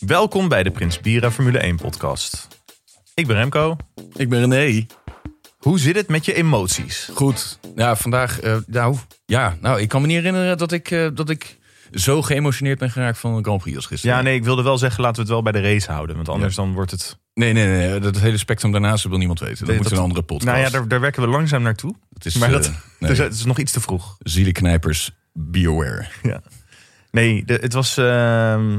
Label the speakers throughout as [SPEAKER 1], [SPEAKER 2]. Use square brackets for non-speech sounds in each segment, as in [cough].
[SPEAKER 1] Welkom bij de Prins Bira Formule 1 podcast. Ik ben Remco.
[SPEAKER 2] Ik ben René.
[SPEAKER 1] Hoe zit het met je emoties?
[SPEAKER 2] Goed. Ja, vandaag. eh, nou, ja, nou, ik kan me niet herinneren dat ik, eh, dat ik zo geëmotioneerd ben geraakt van de Grand Prix als gisteren.
[SPEAKER 1] Ja, nee, ik wilde wel zeggen, laten we het wel bij de race houden. Want anders dan wordt het...
[SPEAKER 2] nee. nee, nee, nee, Dat hele spectrum daarnaast wil niemand weten. Dat
[SPEAKER 1] Nee,
[SPEAKER 2] moet
[SPEAKER 1] dat-
[SPEAKER 2] een andere podcast.
[SPEAKER 1] Nou ja, daar, daar werken we langzaam naartoe.
[SPEAKER 2] dat is,
[SPEAKER 1] Maar
[SPEAKER 2] eh,
[SPEAKER 1] dat, [laughs]
[SPEAKER 2] nee,
[SPEAKER 1] dus het is nog iets te vroeg.
[SPEAKER 2] zielenknijpers, be aware.
[SPEAKER 1] Ja. Nee, de- het was... ehm,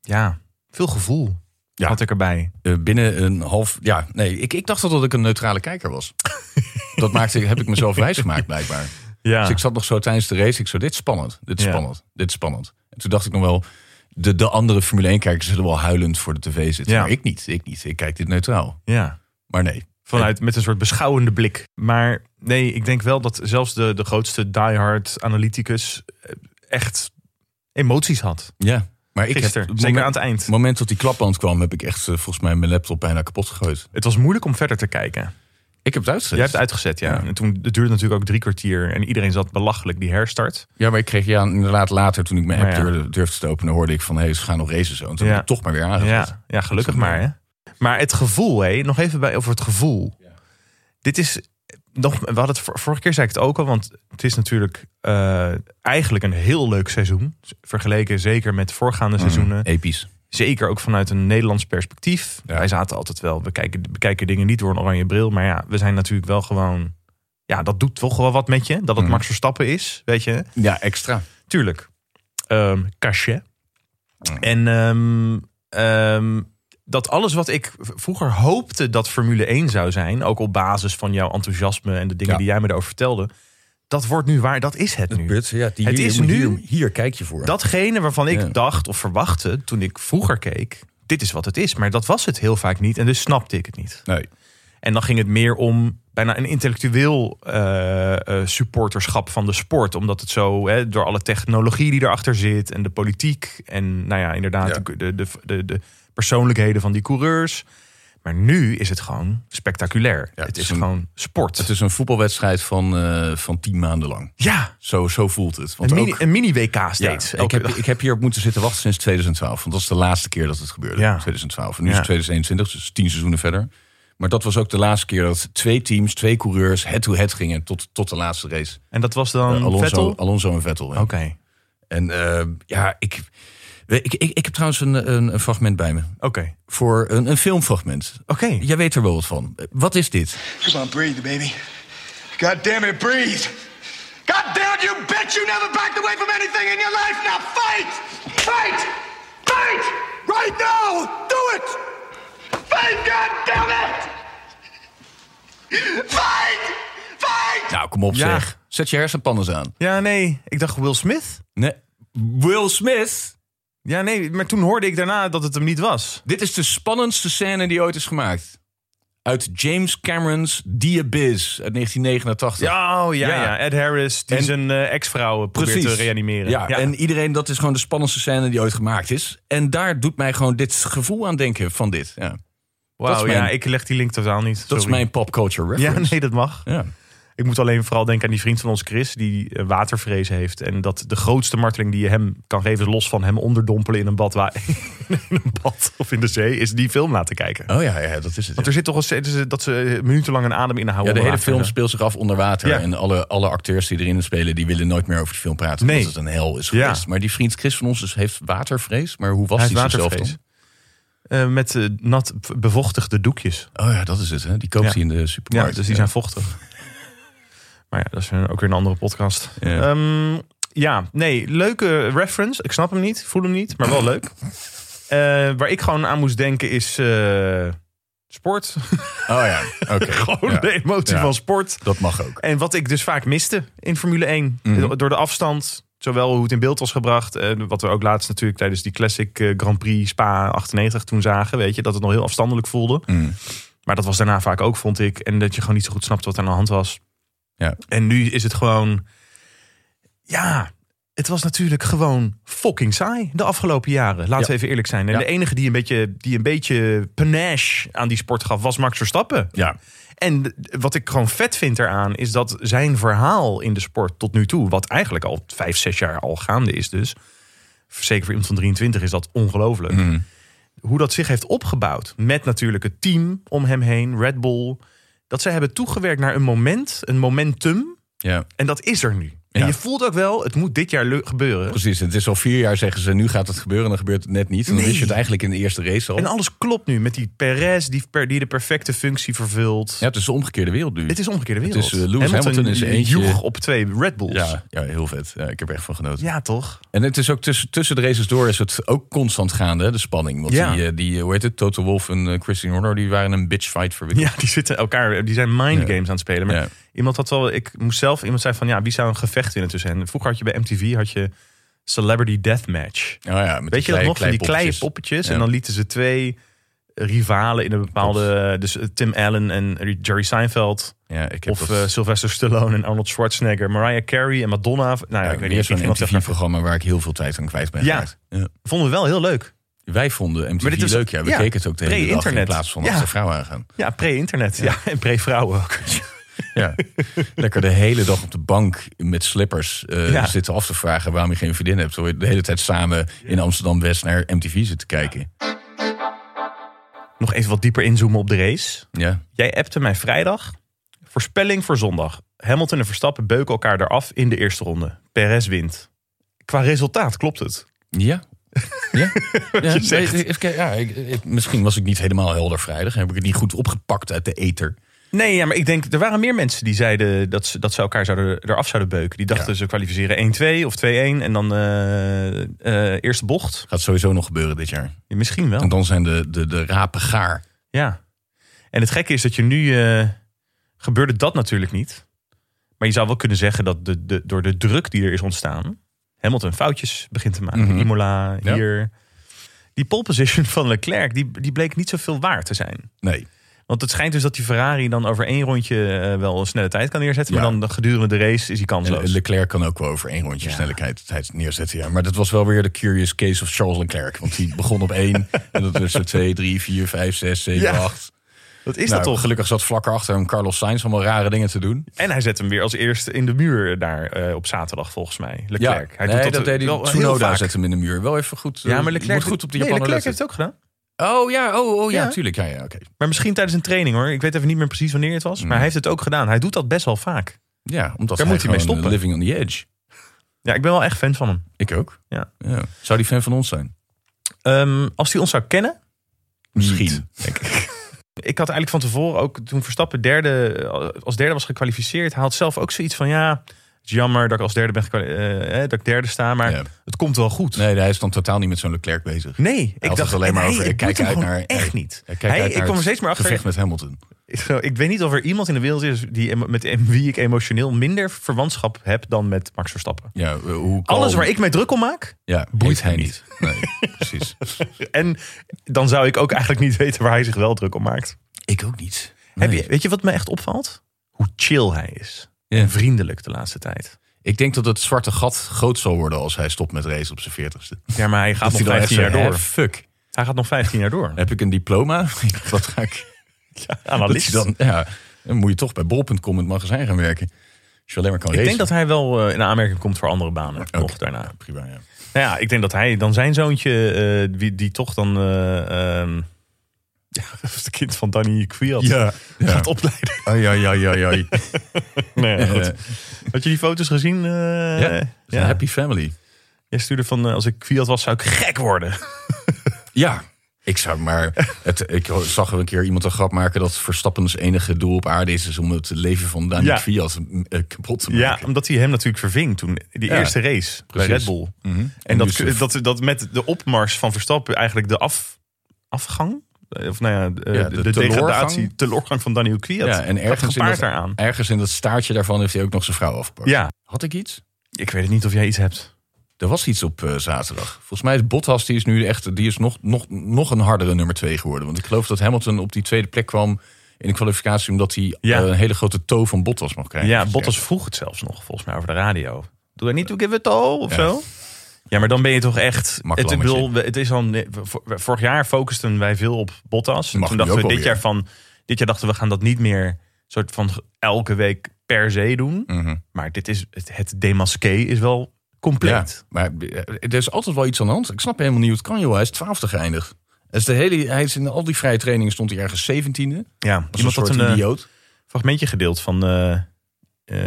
[SPEAKER 1] ja, veel gevoel
[SPEAKER 2] Ja.
[SPEAKER 1] had ik erbij.
[SPEAKER 2] Eh, binnen een half... Ja, nee, ik, ik dacht al dat ik een neutrale kijker
[SPEAKER 1] [laughs]
[SPEAKER 2] was. dat maakte, heb ik mezelf wijsgemaakt blijkbaar.
[SPEAKER 1] Ja.
[SPEAKER 2] Dus ik zat nog zo tijdens de race. Ik zo, dit is spannend. Dit is
[SPEAKER 1] Ah. Ja.
[SPEAKER 2] spannend. Dit is spannend. En toen dacht ik nog wel, de, de andere Formule 1-kijkers zullen wel huilend voor de tv zitten.
[SPEAKER 1] Ja.
[SPEAKER 2] Maar ik niet. Ik niet. Ik kijk dit neutraal.
[SPEAKER 1] ja.
[SPEAKER 2] Maar nee.
[SPEAKER 1] Vanuit met een soort beschouwende blik. Maar nee, ik denk wel dat zelfs de, de grootste diehard analyticus eh, echt emoties had.
[SPEAKER 2] Ja. Maar ik
[SPEAKER 1] Gisteren,
[SPEAKER 2] heb, het
[SPEAKER 1] zeker aan
[SPEAKER 2] moment,
[SPEAKER 1] het eind.
[SPEAKER 2] het moment dat die klapband kwam, heb ik echt eh, volgens mij mijn laptop bijna kapot gegooid.
[SPEAKER 1] Het was moeilijk om verder te kijken.
[SPEAKER 2] Ik heb het uitgezet.
[SPEAKER 1] Jij hebt het uitgezet, ja.
[SPEAKER 2] Ja.
[SPEAKER 1] En toen het duurde natuurlijk ook drie kwartier en iedereen zat belachelijk die herstart.
[SPEAKER 2] Ja, maar ik kreeg ja, inderdaad later, toen ik mijn
[SPEAKER 1] Maar
[SPEAKER 2] app
[SPEAKER 1] ja.
[SPEAKER 2] durfde, durfde te openen, hoorde ik van, hé, ze gaan nog racen zo. En toen
[SPEAKER 1] Ja.
[SPEAKER 2] heb ik het toch maar weer aangezet.
[SPEAKER 1] Ja, ja gelukkig
[SPEAKER 2] Dat is
[SPEAKER 1] maar. Hè. Maar het gevoel, hé, nog even bij over het gevoel. Dit is nog, we hadden het vor- vorige keer zei ik het ook al, want het is natuurlijk eh, eigenlijk een heel leuk seizoen. Vergeleken zeker met voorgaande seizoenen.
[SPEAKER 2] Episch.
[SPEAKER 1] Zeker ook vanuit een Nederlands perspectief.
[SPEAKER 2] Ja.
[SPEAKER 1] Wij zaten altijd wel, we kijken, we kijken dingen niet door een oranje bril. Maar ja, we zijn natuurlijk wel gewoon. Ja, dat doet toch wel wat met je. Dat het
[SPEAKER 2] Mhm.
[SPEAKER 1] Max Verstappen is, weet je.
[SPEAKER 2] Ja, extra.
[SPEAKER 1] Tuurlijk. Ehm cachet. En ehm, ehm, dat alles wat ik v- vroeger hoopte dat Formule 1 zou zijn... ook op basis van jouw enthousiasme en de dingen
[SPEAKER 2] Ja.
[SPEAKER 1] die jij me erover vertelde... dat wordt nu waar, dat is het nu.
[SPEAKER 2] ja, die
[SPEAKER 1] Het hier- is hier- nu-
[SPEAKER 2] hier kijk je voor.
[SPEAKER 1] Datgene waarvan ik
[SPEAKER 2] Ja.
[SPEAKER 1] dacht of verwachtte toen ik vroeger keek, dit is wat het is. Maar dat was het heel vaak niet en dus snapte ik het niet.
[SPEAKER 2] Nee.
[SPEAKER 1] En dan ging het meer om bijna een intellectueel eh, eh, supporterschap van de sport. Omdat het zo, hè, door alle technologie die erachter zit en de politiek en nou ja, inderdaad
[SPEAKER 2] Ja.
[SPEAKER 1] De, de, de, de persoonlijkheden van die coureurs. Maar nu is het gewoon spectaculair.
[SPEAKER 2] Ja,
[SPEAKER 1] het
[SPEAKER 2] het
[SPEAKER 1] is
[SPEAKER 2] is een-
[SPEAKER 1] gewoon sport.
[SPEAKER 2] Het is een voetbalwedstrijd van, eh, van tien maanden lang.
[SPEAKER 1] ja,
[SPEAKER 2] Zo, zo voelt het. Want
[SPEAKER 1] een mini-
[SPEAKER 2] ook,
[SPEAKER 1] een mini-WK
[SPEAKER 2] ja,
[SPEAKER 1] steeds.
[SPEAKER 2] ik,
[SPEAKER 1] elke
[SPEAKER 2] heb,
[SPEAKER 1] dag.
[SPEAKER 2] ik heb hierop moeten zitten wachten sinds 2012. Want dat is de laatste keer dat het gebeurde.
[SPEAKER 1] Ja.
[SPEAKER 2] 2012. En nu
[SPEAKER 1] Ja.
[SPEAKER 2] is het 2021, dus tien seizoenen verder. Maar dat was ook de laatste keer dat twee teams, twee coureurs, head-to-head gingen tot, tot de laatste race.
[SPEAKER 1] En dat was dan
[SPEAKER 2] Eh, Alonso,
[SPEAKER 1] Vettel? Oké.
[SPEAKER 2] Alonso en Vettel. ja. En eh, ja, ik, ik, ik, ik heb trouwens een, een, een fragment bij me.
[SPEAKER 1] Oké.
[SPEAKER 2] Voor een, een filmfragment.
[SPEAKER 1] Oké.
[SPEAKER 2] Jij weet er wel wat van. Wat is dit?
[SPEAKER 3] Come on, breathe, baby. God damn it, breathe. God damn you, bitch! You never backed away from anything in your life. Now fight, fight, fight right now. Do it. Fight, God damn it! Fight, fight.
[SPEAKER 2] Nou, kom op
[SPEAKER 1] Ja.
[SPEAKER 2] zeg. Zet je hersenpannen eens aan.
[SPEAKER 1] Ja, nee. Ik dacht Will Smith.
[SPEAKER 2] Nee. Will Smith?
[SPEAKER 1] Ja, nee. Maar toen hoorde ik daarna dat het hem niet was.
[SPEAKER 2] Dit is de spannendste scène die ooit is gemaakt. Uit James Cameron's The Abyss uit 1989.
[SPEAKER 1] Ja, oh, ja, ja.
[SPEAKER 2] Ja.
[SPEAKER 1] Ed Harris, die
[SPEAKER 2] En-
[SPEAKER 1] zijn eh, ex-vrouw probeert
[SPEAKER 2] Precies.
[SPEAKER 1] te reanimeren.
[SPEAKER 2] Ja, en iedereen, dat is gewoon de spannendste scène die ooit gemaakt is. En daar doet mij gewoon dit gevoel aan denken van dit. Ja. Dat
[SPEAKER 1] Wauw,
[SPEAKER 2] is mijn-
[SPEAKER 1] ja, ik leg die link totaal niet.
[SPEAKER 2] is mijn popculture
[SPEAKER 1] Ja,
[SPEAKER 2] reference.
[SPEAKER 1] nee, dat mag.
[SPEAKER 2] Ja.
[SPEAKER 1] Ik moet alleen vooral denken aan die vriend van ons, Chris, die eh, watervrees heeft. En dat de grootste marteling die je hem kan geven, is los van hem onderdompelen in een bad, wa- [laughs] in een bad of in de zee, is die film laten kijken.
[SPEAKER 2] Oh ja, ja, dat is het. ja.
[SPEAKER 1] Want er zit toch een scène dat ze minutenlang een adem
[SPEAKER 2] Ja,
[SPEAKER 1] inhouden.
[SPEAKER 2] de hele
[SPEAKER 1] onder water.
[SPEAKER 2] film speelt zich af onder water.
[SPEAKER 1] Ja.
[SPEAKER 2] En alle, alle acteurs die erin spelen, die willen nooit meer over die film praten.
[SPEAKER 1] Nee.
[SPEAKER 2] Omdat het een hel is
[SPEAKER 1] Ja.
[SPEAKER 2] geweest. Maar die vriend Chris van ons dus heeft watervrees. Maar hoe was
[SPEAKER 1] Hij
[SPEAKER 2] hij,
[SPEAKER 1] heeft
[SPEAKER 2] zichzelf
[SPEAKER 1] watervrees.
[SPEAKER 2] dan?
[SPEAKER 1] Eh, met eh, nat v- bevochtigde doekjes.
[SPEAKER 2] Oh ja, dat is het. Hè? Die koopt
[SPEAKER 1] Ja.
[SPEAKER 2] hij in de
[SPEAKER 1] Ja,
[SPEAKER 2] supermarkt.
[SPEAKER 1] dus die zijn vochtig. [laughs] maar ja, dat is een- ook weer een andere podcast.
[SPEAKER 2] Ja.
[SPEAKER 1] Ja. ja, nee, leuke reference. Ik snap hem niet, voel hem niet, maar [laughs] wel leuk. Eh, waar ik gewoon aan moest denken is eh, sport. [laughs]
[SPEAKER 2] Oh ja, oké.
[SPEAKER 1] gewoon
[SPEAKER 2] Ja.
[SPEAKER 1] de emotie
[SPEAKER 2] Ja.
[SPEAKER 1] van sport.
[SPEAKER 2] Dat mag ook.
[SPEAKER 1] En wat ik dus vaak miste in Formule 1.
[SPEAKER 2] Mhm.
[SPEAKER 1] Door de afstand, zowel hoe het in beeld was gebracht. En wat we ook laatst natuurlijk tijdens die Classic eh, Grand Prix Spa 98 toen zagen. Weet je, dat het nog heel afstandelijk voelde.
[SPEAKER 2] Mm.
[SPEAKER 1] Maar dat was daarna vaak ook, vond ik. En dat je gewoon niet zo goed snapte wat er aan de hand was.
[SPEAKER 2] Ja.
[SPEAKER 1] En nu is het gewoon... Ja, het was natuurlijk gewoon fucking saai de afgelopen jaren. Laten we
[SPEAKER 2] Ja.
[SPEAKER 1] even eerlijk zijn. En
[SPEAKER 2] Ja.
[SPEAKER 1] de enige die een, beetje, die een beetje panache aan die sport gaf, was Max Verstappen.
[SPEAKER 2] Ja,
[SPEAKER 1] En wat ik gewoon vet vind eraan, is dat zijn verhaal in de sport tot nu toe, wat eigenlijk al vijf, zes jaar al gaande is dus, zeker voor iemand van 23 is dat ongelooflijk.
[SPEAKER 2] Mhm.
[SPEAKER 1] Hoe dat zich heeft opgebouwd. Met natuurlijk het team om hem heen, Red Bull. Dat zij hebben toegewerkt naar een moment, een momentum.
[SPEAKER 2] Ja,
[SPEAKER 1] En dat is er nu. En
[SPEAKER 2] Ja.
[SPEAKER 1] je voelt ook wel, het moet dit jaar leu- gebeuren.
[SPEAKER 2] precies. Het is al vier jaar zeggen ze, nu gaat het gebeuren. En dan gebeurt het net niet. En dan
[SPEAKER 1] Nee.
[SPEAKER 2] wist je het eigenlijk in de eerste race al.
[SPEAKER 1] En alles klopt nu met die Perez die, per, die de perfecte functie vervult.
[SPEAKER 2] Ja, het is de omgekeerde wereld nu.
[SPEAKER 1] Het is omgekeerde wereld.
[SPEAKER 2] is, eh, Lewis Hamilton is eentje-
[SPEAKER 1] joeg op twee Red Bulls.
[SPEAKER 2] ja, ja, heel vet. Ja, ik heb er echt van genoten.
[SPEAKER 1] Ja, toch?
[SPEAKER 2] En het is ook tussen, tussen de races door is het ook constant gaande, hè, de spanning. Want
[SPEAKER 1] Ja.
[SPEAKER 2] die, eh, die, eh, hoe heet het, Toto Wolf en eh, Christian Horner, die waren een bitchfight voor
[SPEAKER 1] [laughs] Ja, die zitten elkaar, die zijn mind games aan het spelen. Maar
[SPEAKER 2] Ja.
[SPEAKER 1] iemand had wel, ik moest zelf, iemand zei van ja, wie zou een gevecht winnen tussen hen? Vroeger had je bij MTV had je Celebrity Deathmatch.
[SPEAKER 2] Oh ja, met
[SPEAKER 1] Weet je dat nog? Van die kleine
[SPEAKER 2] klei
[SPEAKER 1] poppetjes.
[SPEAKER 2] Ja.
[SPEAKER 1] En dan lieten ze twee rivalen in een bepaalde, dus eh, Tim Allen en Jerry Seinfeld.
[SPEAKER 2] Ja, ik heb
[SPEAKER 1] Of
[SPEAKER 2] dat,
[SPEAKER 1] eh, Sylvester Stallone en Arnold Schwarzenegger, Mariah Carey en Madonna. Nou ja,
[SPEAKER 2] ja,
[SPEAKER 1] ik weet
[SPEAKER 2] weer
[SPEAKER 1] niet of
[SPEAKER 2] zo'n
[SPEAKER 1] iemand zegt, maar
[SPEAKER 2] MTV-programma waar ik heel veel tijd aan kwijt ben
[SPEAKER 1] Ja.
[SPEAKER 2] geraakt. Ja.
[SPEAKER 1] vonden we wel heel leuk.
[SPEAKER 2] Wij vonden MTV
[SPEAKER 1] Maar dit is-
[SPEAKER 2] leuk, ja. We
[SPEAKER 1] ja,
[SPEAKER 2] keken het ook de hele dag in
[SPEAKER 1] pre-internet.
[SPEAKER 2] plaats van
[SPEAKER 1] Ja.
[SPEAKER 2] als de vrouwen aangaan.
[SPEAKER 1] Ja, pre-internet. Ja. [laughs] en pre-vrouwen ook.
[SPEAKER 2] Ja. [laughs] Lekker de hele dag op de bank met slippers eh,
[SPEAKER 1] Ja.
[SPEAKER 2] zitten af te vragen waarom je geen vriendin hebt. Terwijl je de hele tijd samen in Amsterdam-West naar MTV zit te kijken.
[SPEAKER 1] Nog even wat dieper inzoomen op de race.
[SPEAKER 2] Ja,
[SPEAKER 1] Jij appte mij vrijdag. Voorspelling voor zondag. Hamilton en Verstappen beuken elkaar eraf in de eerste ronde. Perez wint. Qua resultaat klopt het. [laughs]
[SPEAKER 2] Ja. Ja, ja. nee,
[SPEAKER 1] zegt.
[SPEAKER 2] even kijken. ja ik, ik- misschien was ik niet helemaal helder vrijdag. Heb ik het niet goed opgepakt uit de ether.
[SPEAKER 1] Nee, ja, maar ik denk, er waren meer mensen die zeiden dat ze, dat ze elkaar zouden, eraf zouden beuken. Die dachten ze kwalificeren 1-2 of 2-1 en dan eh, eh, eerste bocht.
[SPEAKER 2] Gaat sowieso nog gebeuren dit jaar.
[SPEAKER 1] Ja, misschien wel.
[SPEAKER 2] En dan zijn de, de, de rapen gaar.
[SPEAKER 1] Ja. En het gekke is dat je nu. eh, gebeurde dat natuurlijk niet. Maar je zou wel kunnen zeggen dat de, de, door de druk die er is ontstaan. Hamilton foutjes begint te maken.
[SPEAKER 2] Mhm.
[SPEAKER 1] Imola,
[SPEAKER 2] Ja.
[SPEAKER 1] hier. Die pole position van Leclerc die, die bleek niet zoveel waar te zijn.
[SPEAKER 2] Nee.
[SPEAKER 1] Want het schijnt dus dat die Ferrari dan over één rondje eh, wel een snelle tijd kan neerzetten.
[SPEAKER 2] Ja.
[SPEAKER 1] Maar dan de- gedurende de race is hij
[SPEAKER 2] En
[SPEAKER 1] kansloos.
[SPEAKER 2] Leclerc kan ook wel over één rondje snelheid tijd neerzetten. Ja. Maar dat was wel weer de curious case of Charles Leclerc. Want die begon op
[SPEAKER 1] [laughs]
[SPEAKER 2] één. en dat werd zo twee, drie, vier, vijf, zes, zeven,
[SPEAKER 1] Ja.
[SPEAKER 2] acht.
[SPEAKER 1] dat is
[SPEAKER 2] Nou,
[SPEAKER 1] dat toch?
[SPEAKER 2] Gelukkig zat vlak achter hem Carlos Sainz allemaal rare dingen te doen.
[SPEAKER 1] En hij zet hem weer als eerste in de muur daar eh, op zaterdag volgens mij. Leclerc. hij
[SPEAKER 2] nee,
[SPEAKER 1] doet dat, eh,
[SPEAKER 2] dat, deed hij.
[SPEAKER 1] wel heel
[SPEAKER 2] Tsunoda
[SPEAKER 1] vaak.
[SPEAKER 2] zet hem in de muur. Wel even goed.
[SPEAKER 1] Ja, maar
[SPEAKER 2] je
[SPEAKER 1] Leclerc,
[SPEAKER 2] moet goed op de
[SPEAKER 1] nee,
[SPEAKER 2] Japaner
[SPEAKER 1] Leclerc
[SPEAKER 2] letten.
[SPEAKER 1] heeft het ook gedaan.
[SPEAKER 2] Oh ja, oh, oh ja,
[SPEAKER 1] Ja.
[SPEAKER 2] natuurlijk. Ja, ja, oké.
[SPEAKER 1] Maar misschien tijdens een training hoor. Ik weet even niet meer precies wanneer het was. Maar hij heeft het ook gedaan. Hij doet dat best wel vaak.
[SPEAKER 2] Ja, omdat
[SPEAKER 1] Daar moet hij
[SPEAKER 2] hij
[SPEAKER 1] mee
[SPEAKER 2] gewoon eh,
[SPEAKER 1] stoppen.
[SPEAKER 2] Living on the edge.
[SPEAKER 1] Ja, ik ben wel echt fan van hem.
[SPEAKER 2] Ik ook.
[SPEAKER 1] Ja.
[SPEAKER 2] Ja. Zou die fan van ons zijn?
[SPEAKER 1] Ehm, als hij ons zou kennen.
[SPEAKER 2] Misschien.
[SPEAKER 1] Niet. Ik had eigenlijk van tevoren ook toen Verstappen derde, eh, als derde was gekwalificeerd. Hij had zelf ook zoiets van ja, het is jammer dat ik als derde ben gekwali- eh, eh, dat ik derde sta. Maar
[SPEAKER 2] Ja.
[SPEAKER 1] het komt wel goed.
[SPEAKER 2] Nee, hij is dan totaal niet met zo'n Leclerc bezig.
[SPEAKER 1] Nee,
[SPEAKER 2] had
[SPEAKER 1] ik dacht
[SPEAKER 2] het alleen
[SPEAKER 1] en
[SPEAKER 2] maar
[SPEAKER 1] hij-
[SPEAKER 2] over,
[SPEAKER 1] het
[SPEAKER 2] ik kijk
[SPEAKER 1] doet hem
[SPEAKER 2] uit
[SPEAKER 1] gewoon
[SPEAKER 2] naar-
[SPEAKER 1] echt
[SPEAKER 2] hij-
[SPEAKER 1] niet.
[SPEAKER 2] Hij kijkt
[SPEAKER 1] Hij,
[SPEAKER 2] uit
[SPEAKER 1] ik
[SPEAKER 2] naar
[SPEAKER 1] kom er
[SPEAKER 2] het
[SPEAKER 1] steeds meer achter.
[SPEAKER 2] Gevecht met Hamilton.
[SPEAKER 1] Ik- [laughs] Ik weet niet of er iemand in de wereld is die, emo- met [laughs] wie ik emotioneel minder verwantschap heb dan met Max Verstappen.
[SPEAKER 2] Ja, eh, hoe kalm-
[SPEAKER 1] Alles waar ik mij druk om maak,
[SPEAKER 2] ja, boeit
[SPEAKER 1] boeit
[SPEAKER 2] hij
[SPEAKER 1] hem
[SPEAKER 2] niet. Nee, [laughs] precies.
[SPEAKER 1] En dan zou ik ook eigenlijk niet [laughs] weten waar hij zich wel druk om maakt.
[SPEAKER 2] Ik ook niet.
[SPEAKER 1] Heb
[SPEAKER 2] Nee.
[SPEAKER 1] je, weet je wat me echt opvalt? Hoe chill hij is.
[SPEAKER 2] Ja.
[SPEAKER 1] En vriendelijk de laatste tijd.
[SPEAKER 2] Ik denk dat het zwarte gat groot zal worden als hij stopt met race op zijn veertigste.
[SPEAKER 1] Ja, maar hij gaat nog 15 jaar door.
[SPEAKER 2] Fuck.
[SPEAKER 1] Hij gaat nog 15 jaar
[SPEAKER 2] [laughs]
[SPEAKER 1] door.
[SPEAKER 2] Heb ik een diploma? Wat ga ik? Dat
[SPEAKER 1] Analist.
[SPEAKER 2] je dan, ja, dan moet je toch bij bol.com in het magazijn gaan werken. Als je alleen maar kan
[SPEAKER 1] Ik
[SPEAKER 2] racen.
[SPEAKER 1] denk dat hij wel eh, in aanmerking komt voor andere banen. Nog daarna.
[SPEAKER 2] Ja, prima, ja.
[SPEAKER 1] Nou ja, ik denk dat hij dan zijn zoontje, eh, wie, die toch dan. eh, ehm, [laughs] ja, het kind van Danny Quiat
[SPEAKER 2] Ja, ja.
[SPEAKER 1] gaat opleiden. [laughs]
[SPEAKER 2] Ai, ai, ai, ai, ai.
[SPEAKER 1] Nee, ja, goed.
[SPEAKER 2] Eh,
[SPEAKER 1] Had je die foto's gezien? eh?
[SPEAKER 2] Ja, het is een
[SPEAKER 1] [laughs] ja.
[SPEAKER 2] happy family.
[SPEAKER 1] Jij stuurde van, eh, als ik Quiat was, zou ik gek worden.
[SPEAKER 2] Ja, ik zou maar. Het, ik zag een keer iemand een grap maken dat Verstappen's enige doel op aarde is, is om het leven van Daniel
[SPEAKER 1] Ja.
[SPEAKER 2] Fiat eh, kapot te
[SPEAKER 1] Ja,
[SPEAKER 2] maken.
[SPEAKER 1] omdat hij hem natuurlijk verving toen. Die
[SPEAKER 2] Ja,
[SPEAKER 1] eerste race
[SPEAKER 2] precies.
[SPEAKER 1] bij Red Bull. En
[SPEAKER 2] En
[SPEAKER 1] dat,
[SPEAKER 2] dus, eh,
[SPEAKER 1] dat, dat met de opmars van Verstappen eigenlijk de af, afgang... eh, Of nou ja, eh,
[SPEAKER 2] Ja, de
[SPEAKER 1] de, de degradatie,
[SPEAKER 2] teleurgang.
[SPEAKER 1] teleurgang van Daniel Kwiat.
[SPEAKER 2] Ja, en ergens in,
[SPEAKER 1] gepaard
[SPEAKER 2] dat,
[SPEAKER 1] daaraan.
[SPEAKER 2] ergens in dat staartje daarvan heeft hij ook nog zijn vrouw afgepakt.
[SPEAKER 1] Ja,
[SPEAKER 2] Had ik iets?
[SPEAKER 1] ik weet het niet of jij iets hebt.
[SPEAKER 2] Er was iets op eh, zaterdag. Volgens mij is Bottas die is nu echt, die is nog, nog, nog een hardere nummer twee geworden. Want ik geloof dat Hamilton op die tweede plek kwam in de kwalificatie omdat hij
[SPEAKER 1] Ja.
[SPEAKER 2] eh, een hele grote toe van Bottas mocht
[SPEAKER 1] Ja,
[SPEAKER 2] krijgen. Dus
[SPEAKER 1] Bottas vroeg het zelfs nog, volgens mij, over de radio. Do I need to give it all, of zo? Ja, maar dan ben je toch echt...
[SPEAKER 2] Mak
[SPEAKER 1] Het, ik
[SPEAKER 2] lammetje.
[SPEAKER 1] bedoel, we- het is al, vorig jaar focusten wij veel op Bottas. En
[SPEAKER 2] Mag
[SPEAKER 1] toen
[SPEAKER 2] nu
[SPEAKER 1] dachten we
[SPEAKER 2] ook
[SPEAKER 1] dit
[SPEAKER 2] alweer.
[SPEAKER 1] jaar van... Dit jaar dachten we gaan dat niet meer soort van elke week per se doen.
[SPEAKER 2] Mhm.
[SPEAKER 1] Maar dit is, het, het demasqué is wel Compleet.
[SPEAKER 2] maar eh, er is altijd wel iets aan de hand. Ik snap helemaal niet hoe het kan, joh. Hij is twaalfde geëindigd. Dus de hele, hij is in al die vrije trainingen stond hij ergens zeventiende.
[SPEAKER 1] Ja,
[SPEAKER 2] Als een
[SPEAKER 1] iemand had
[SPEAKER 2] soort
[SPEAKER 1] een eh,
[SPEAKER 2] idioot.
[SPEAKER 1] fragmentje gedeeld van eh, eh,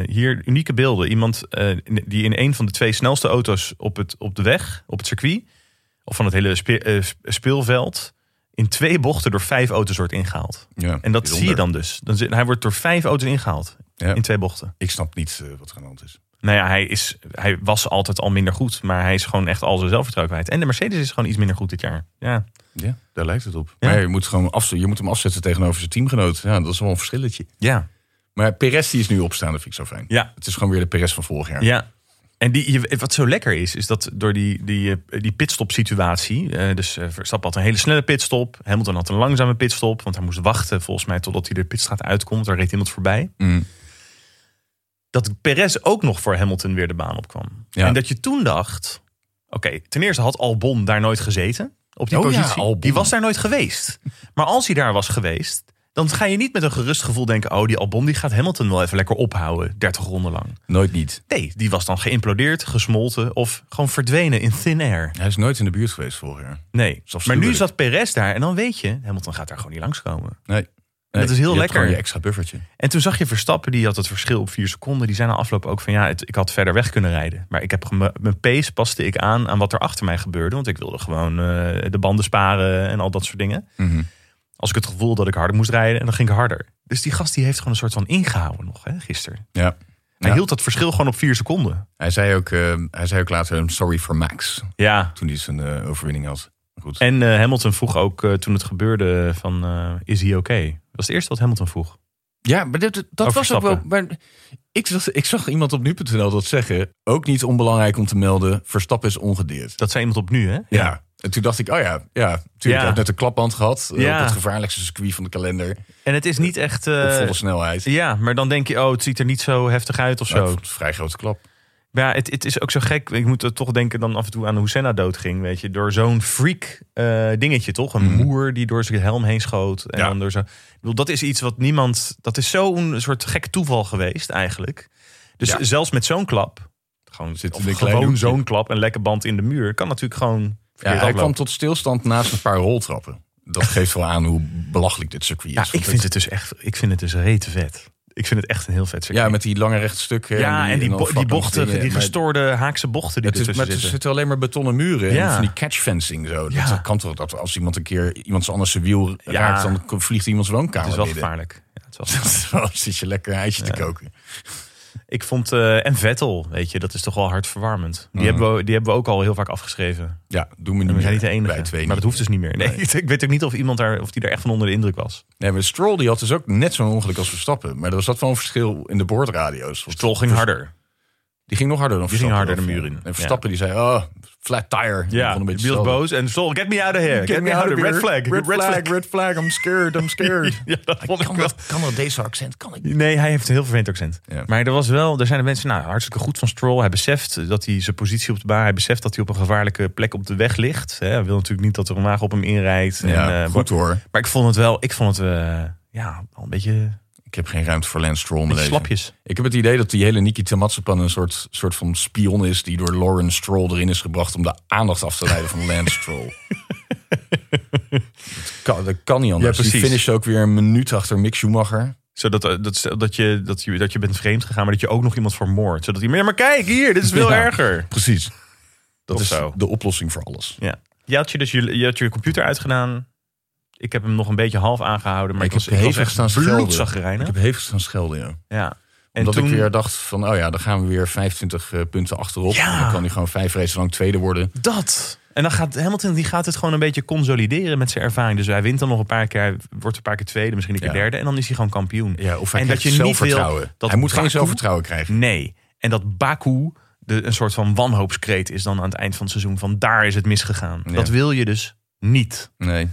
[SPEAKER 1] hier unieke beelden. Iemand eh, in- die in een van de twee snelste auto's op, het, op de weg, op het circuit, of van het hele spe- eh, sp- speelveld, in twee bochten door vijf auto's wordt ingehaald.
[SPEAKER 2] Ja,
[SPEAKER 1] En dat
[SPEAKER 2] bijzonder.
[SPEAKER 1] zie je dan dus. Dan, zit- hij wordt door vijf auto's ingehaald
[SPEAKER 2] Ja.
[SPEAKER 1] in twee bochten.
[SPEAKER 2] Ik snap niet eh, wat er aan de hand is.
[SPEAKER 1] Nou ja, hij, is, hij was altijd al minder goed, maar hij is gewoon echt al zijn zelfvertrouwen kwijt. En de Mercedes is gewoon iets minder goed dit jaar. Ja,
[SPEAKER 2] Ja, daar lijkt het op.
[SPEAKER 1] Ja.
[SPEAKER 2] Maar je moet, gewoon af, je moet hem afzetten tegenover zijn teamgenoot. Ja, dat is wel een verschilletje.
[SPEAKER 1] ja.
[SPEAKER 2] Maar Perez die is nu opstaan, dat vind ik zo fijn.
[SPEAKER 1] ja.
[SPEAKER 2] Het is gewoon weer de Perez van vorig jaar.
[SPEAKER 1] Ja. En die, je- wat zo lekker is, is dat door die, die, eh, die pitstop situatie. eh, dus eh, Verstappen had een hele snelle pitstop. Hamilton had een langzame pitstop. Want hij moest wachten volgens mij totdat hij de pitstraat uitkomt. Daar reed iemand voorbij.
[SPEAKER 2] Mm.
[SPEAKER 1] Dat Perez ook nog voor Hamilton weer de baan opkwam.
[SPEAKER 2] Ja.
[SPEAKER 1] En dat je toen dacht... Oké, ten eerste had Albon daar nooit gezeten. Op die
[SPEAKER 2] Oh ja,
[SPEAKER 1] positie.
[SPEAKER 2] Albon.
[SPEAKER 1] die was daar nooit geweest. Maar als hij daar was geweest... Dan ga je niet met een gerust gevoel denken... Oh, die Albon die gaat Hamilton wel even lekker ophouden. 30 ronden lang.
[SPEAKER 2] Nooit niet.
[SPEAKER 1] Nee, die was dan geïmplodeerd, gesmolten of gewoon verdwenen in thin air.
[SPEAKER 2] Hij is nooit in de buurt geweest vorig jaar.
[SPEAKER 1] Nee,
[SPEAKER 2] is
[SPEAKER 1] maar nu
[SPEAKER 2] afschuwelijk.
[SPEAKER 1] zat Perez daar en dan weet je, Hamilton gaat daar gewoon niet langskomen.
[SPEAKER 2] Nee.
[SPEAKER 1] Dat is heel
[SPEAKER 2] je hebt
[SPEAKER 1] lekker.
[SPEAKER 2] gewoon je extra buffertje.
[SPEAKER 1] En toen zag je Verstappen, die had het verschil op vier seconden. Die zei na afloop ook van ja, het- ik had verder weg kunnen rijden. Maar ik heb gem- mijn pace paste ik aan aan wat er achter mij gebeurde. Want ik wilde gewoon eh, de banden sparen en al dat soort dingen. Als ik het gevoel had dat ik harder moest rijden, en dan ging ik harder. Dus die gast die heeft gewoon een soort van ingehouden nog, hè, gisteren.
[SPEAKER 2] Ja.
[SPEAKER 1] Hij
[SPEAKER 2] Ja.
[SPEAKER 1] hield dat verschil gewoon op vier seconden.
[SPEAKER 2] Hij zei ook, eh, hij zei ook later, I'm sorry for Max.
[SPEAKER 1] Ja,
[SPEAKER 2] Toen hij zijn eh, overwinning had. Maar Goed.
[SPEAKER 1] En eh, Hamilton vroeg ook eh, toen het gebeurde van eh, is hij oké? Dat was het eerste wat Hamilton vroeg.
[SPEAKER 2] Ja, maar dat, dat
[SPEAKER 1] Over
[SPEAKER 2] was ook wel.
[SPEAKER 1] Verstappen.
[SPEAKER 2] Maar ik, zag- ik zag iemand op nu.nl dat zeggen. Ook niet onbelangrijk om te melden. Verstappen is ongedeerd.
[SPEAKER 1] Dat zei iemand op nu, hè?
[SPEAKER 2] Ja. En toen dacht ik, oh ja, ja natuurlijk.
[SPEAKER 1] Ja.
[SPEAKER 2] Hij heeft net een klapband gehad. eh,
[SPEAKER 1] Ja.
[SPEAKER 2] Op het gevaarlijkste circuit van de kalender.
[SPEAKER 1] En het is niet echt. eh,
[SPEAKER 2] op volle snelheid.
[SPEAKER 1] ja, maar dan denk je, oh, het ziet er niet zo heftig uit of
[SPEAKER 2] Nou,
[SPEAKER 1] zo.
[SPEAKER 2] het is een vrij grote klap.
[SPEAKER 1] Maar ja, het, het is ook zo gek. Ik moet er toch denken dan af en toe aan hoe Senna doodging, weet je. Door zo'n freak eh, dingetje, toch? Een moer die door zijn helm heen schoot. En
[SPEAKER 2] Mhm. Ja.
[SPEAKER 1] dan door zo... Ik bedoel, dat is iets wat niemand... Dat is zo'n soort gek toeval geweest, eigenlijk. Dus
[SPEAKER 2] Ja.
[SPEAKER 1] zelfs met zo'n klap... Gewoon,
[SPEAKER 2] Zit
[SPEAKER 1] of
[SPEAKER 2] in een klein
[SPEAKER 1] gewoon
[SPEAKER 2] hoekje.
[SPEAKER 1] zo'n klap, een lekke band in de muur... kan natuurlijk gewoon
[SPEAKER 2] Ja,
[SPEAKER 1] verkeerd
[SPEAKER 2] hij
[SPEAKER 1] aflopen.
[SPEAKER 2] kwam tot stilstand naast een paar roltrappen.
[SPEAKER 1] [laughs]
[SPEAKER 2] Dat geeft wel aan hoe belachelijk dit circuit is.
[SPEAKER 1] Ja, ik
[SPEAKER 2] Want
[SPEAKER 1] vind het dus echt, ik vind het dus rete vet. Ik vind het echt een heel vet circuit.
[SPEAKER 2] Ja, met die lange rechte stukken.
[SPEAKER 1] Ja, en die,
[SPEAKER 2] dan
[SPEAKER 1] bo- die
[SPEAKER 2] vlakke
[SPEAKER 1] bochten,
[SPEAKER 2] dingen.
[SPEAKER 1] die
[SPEAKER 2] Maar
[SPEAKER 1] gestoorde haakse bochten die
[SPEAKER 2] Het is,
[SPEAKER 1] ertussen
[SPEAKER 2] maar het
[SPEAKER 1] Dus zitten.
[SPEAKER 2] Dus zitten alleen maar betonnen muren en
[SPEAKER 1] Ja.
[SPEAKER 2] van die catchfencing zo. Dat,
[SPEAKER 1] Ja.
[SPEAKER 2] dat kan toch dat als iemand een keer iemand anders zijn wiel
[SPEAKER 1] Ja.
[SPEAKER 2] raakt, dan k- vliegt iemands woonkamer
[SPEAKER 1] Het is wel
[SPEAKER 2] binnen.
[SPEAKER 1] gevaarlijk. Ja, het
[SPEAKER 2] [laughs]
[SPEAKER 1] was,
[SPEAKER 2] Dan zit je lekker een ijsje te koken.
[SPEAKER 1] ik vond, eh, en Vettel, weet je, dat is toch wel hartverwarmend. Die, hebben we, die hebben we ook al heel vaak afgeschreven.
[SPEAKER 2] Mhm. Ja, doen we niet
[SPEAKER 1] En we
[SPEAKER 2] meer.
[SPEAKER 1] zijn niet de enige.
[SPEAKER 2] Wij twee
[SPEAKER 1] maar
[SPEAKER 2] niet.
[SPEAKER 1] dat hoeft dus niet meer. Nee, [laughs] ik weet ook niet of iemand daar, of die daar echt van onder de indruk was.
[SPEAKER 2] Nee, maar Stroll die had dus ook net zo'n ongeluk als Verstappen. Maar er was dat wel een verschil in de boordradio's. Want
[SPEAKER 1] Stroll ging harder.
[SPEAKER 2] Die ging nog harder dan
[SPEAKER 1] Die ging
[SPEAKER 2] Verstappen.
[SPEAKER 1] harder de
[SPEAKER 2] of-
[SPEAKER 1] muur in.
[SPEAKER 2] En Verstappen die zei, oh, flat tire.
[SPEAKER 1] Ja,
[SPEAKER 2] een
[SPEAKER 1] die
[SPEAKER 2] beetje
[SPEAKER 1] was
[SPEAKER 2] hetzelfde.
[SPEAKER 1] boos. En Stroll, get me out of here. Get, me out of here. Red flag. [laughs]
[SPEAKER 2] Red flag, red flag. I'm scared, I'm scared.
[SPEAKER 1] Ja, dat vond ik
[SPEAKER 2] kan,
[SPEAKER 1] wel.
[SPEAKER 2] dat, kan dat deze accent? Kan ik niet.
[SPEAKER 1] Nee, hij heeft een heel vervelend accent.
[SPEAKER 2] Ja.
[SPEAKER 1] Maar er was wel, er zijn de mensen, nou, hartstikke goed van Stroll. Hij beseft dat hij zijn positie op de baan, hij beseft dat hij op een gevaarlijke plek op de weg ligt. Hè, Hij wil natuurlijk niet dat er een wagen op hem inrijdt.
[SPEAKER 2] Ja,
[SPEAKER 1] en, eh,
[SPEAKER 2] goed
[SPEAKER 1] wa-
[SPEAKER 2] hoor.
[SPEAKER 1] Maar ik vond het wel, ik vond het, eh, ja, al een beetje,
[SPEAKER 2] Ik heb geen ruimte voor Lance Stroll in mijn
[SPEAKER 1] beetje
[SPEAKER 2] leven.
[SPEAKER 1] slapjes.
[SPEAKER 2] Ik heb het idee dat die hele Niki Tamatsapan een soort, soort van spion is... die door Lauren Stroll erin is gebracht om de aandacht af te leiden van Lance [laughs] Stroll. dat, kan, dat kan niet anders.
[SPEAKER 1] Ja,
[SPEAKER 2] die
[SPEAKER 1] precies.
[SPEAKER 2] finish ook weer een minuut achter Mick Schumacher.
[SPEAKER 1] Zodat eh, dat, stel dat, je, dat, je, dat je bent vreemd gegaan, maar dat je ook nog iemand vermoordt. Zodat hij, maar, maar kijk hier, dit is [laughs] veel
[SPEAKER 2] Ja.
[SPEAKER 1] erger.
[SPEAKER 2] Precies. Dat
[SPEAKER 1] Of
[SPEAKER 2] is
[SPEAKER 1] zo.
[SPEAKER 2] de oplossing voor alles.
[SPEAKER 1] Ja. Je had je dus je, je had je computer uitgedaan. Ik heb hem nog een beetje half aangehouden, maar ik, was, ik was echt
[SPEAKER 2] Ik
[SPEAKER 1] bloedzagrijnig.
[SPEAKER 2] heb hevig staan schelden, ja.
[SPEAKER 1] Ja. En
[SPEAKER 2] Omdat
[SPEAKER 1] toen,
[SPEAKER 2] ik weer dacht van, oh ja, dan gaan we weer 25 eh, punten achterop.
[SPEAKER 1] Ja.
[SPEAKER 2] En dan kan hij gewoon vijf races lang tweede worden.
[SPEAKER 1] Dat. En dan gaat Hamilton die gaat het gewoon een beetje consolideren met zijn ervaring. Dus hij wint dan nog een paar keer. Hij wordt een paar keer tweede, misschien een keer
[SPEAKER 2] Ja.
[SPEAKER 1] derde. En dan is hij gewoon kampioen.
[SPEAKER 2] Ja, of hij
[SPEAKER 1] en
[SPEAKER 2] en krijgt zelfvertrouwen. hij moet geen zelfvertrouwen krijgen.
[SPEAKER 1] Nee. En dat Baku de, een soort van wanhoopskreet is dan aan het eind van het seizoen. Van daar is het misgegaan.
[SPEAKER 2] Ja.
[SPEAKER 1] Dat wil je dus niet.
[SPEAKER 2] Nee,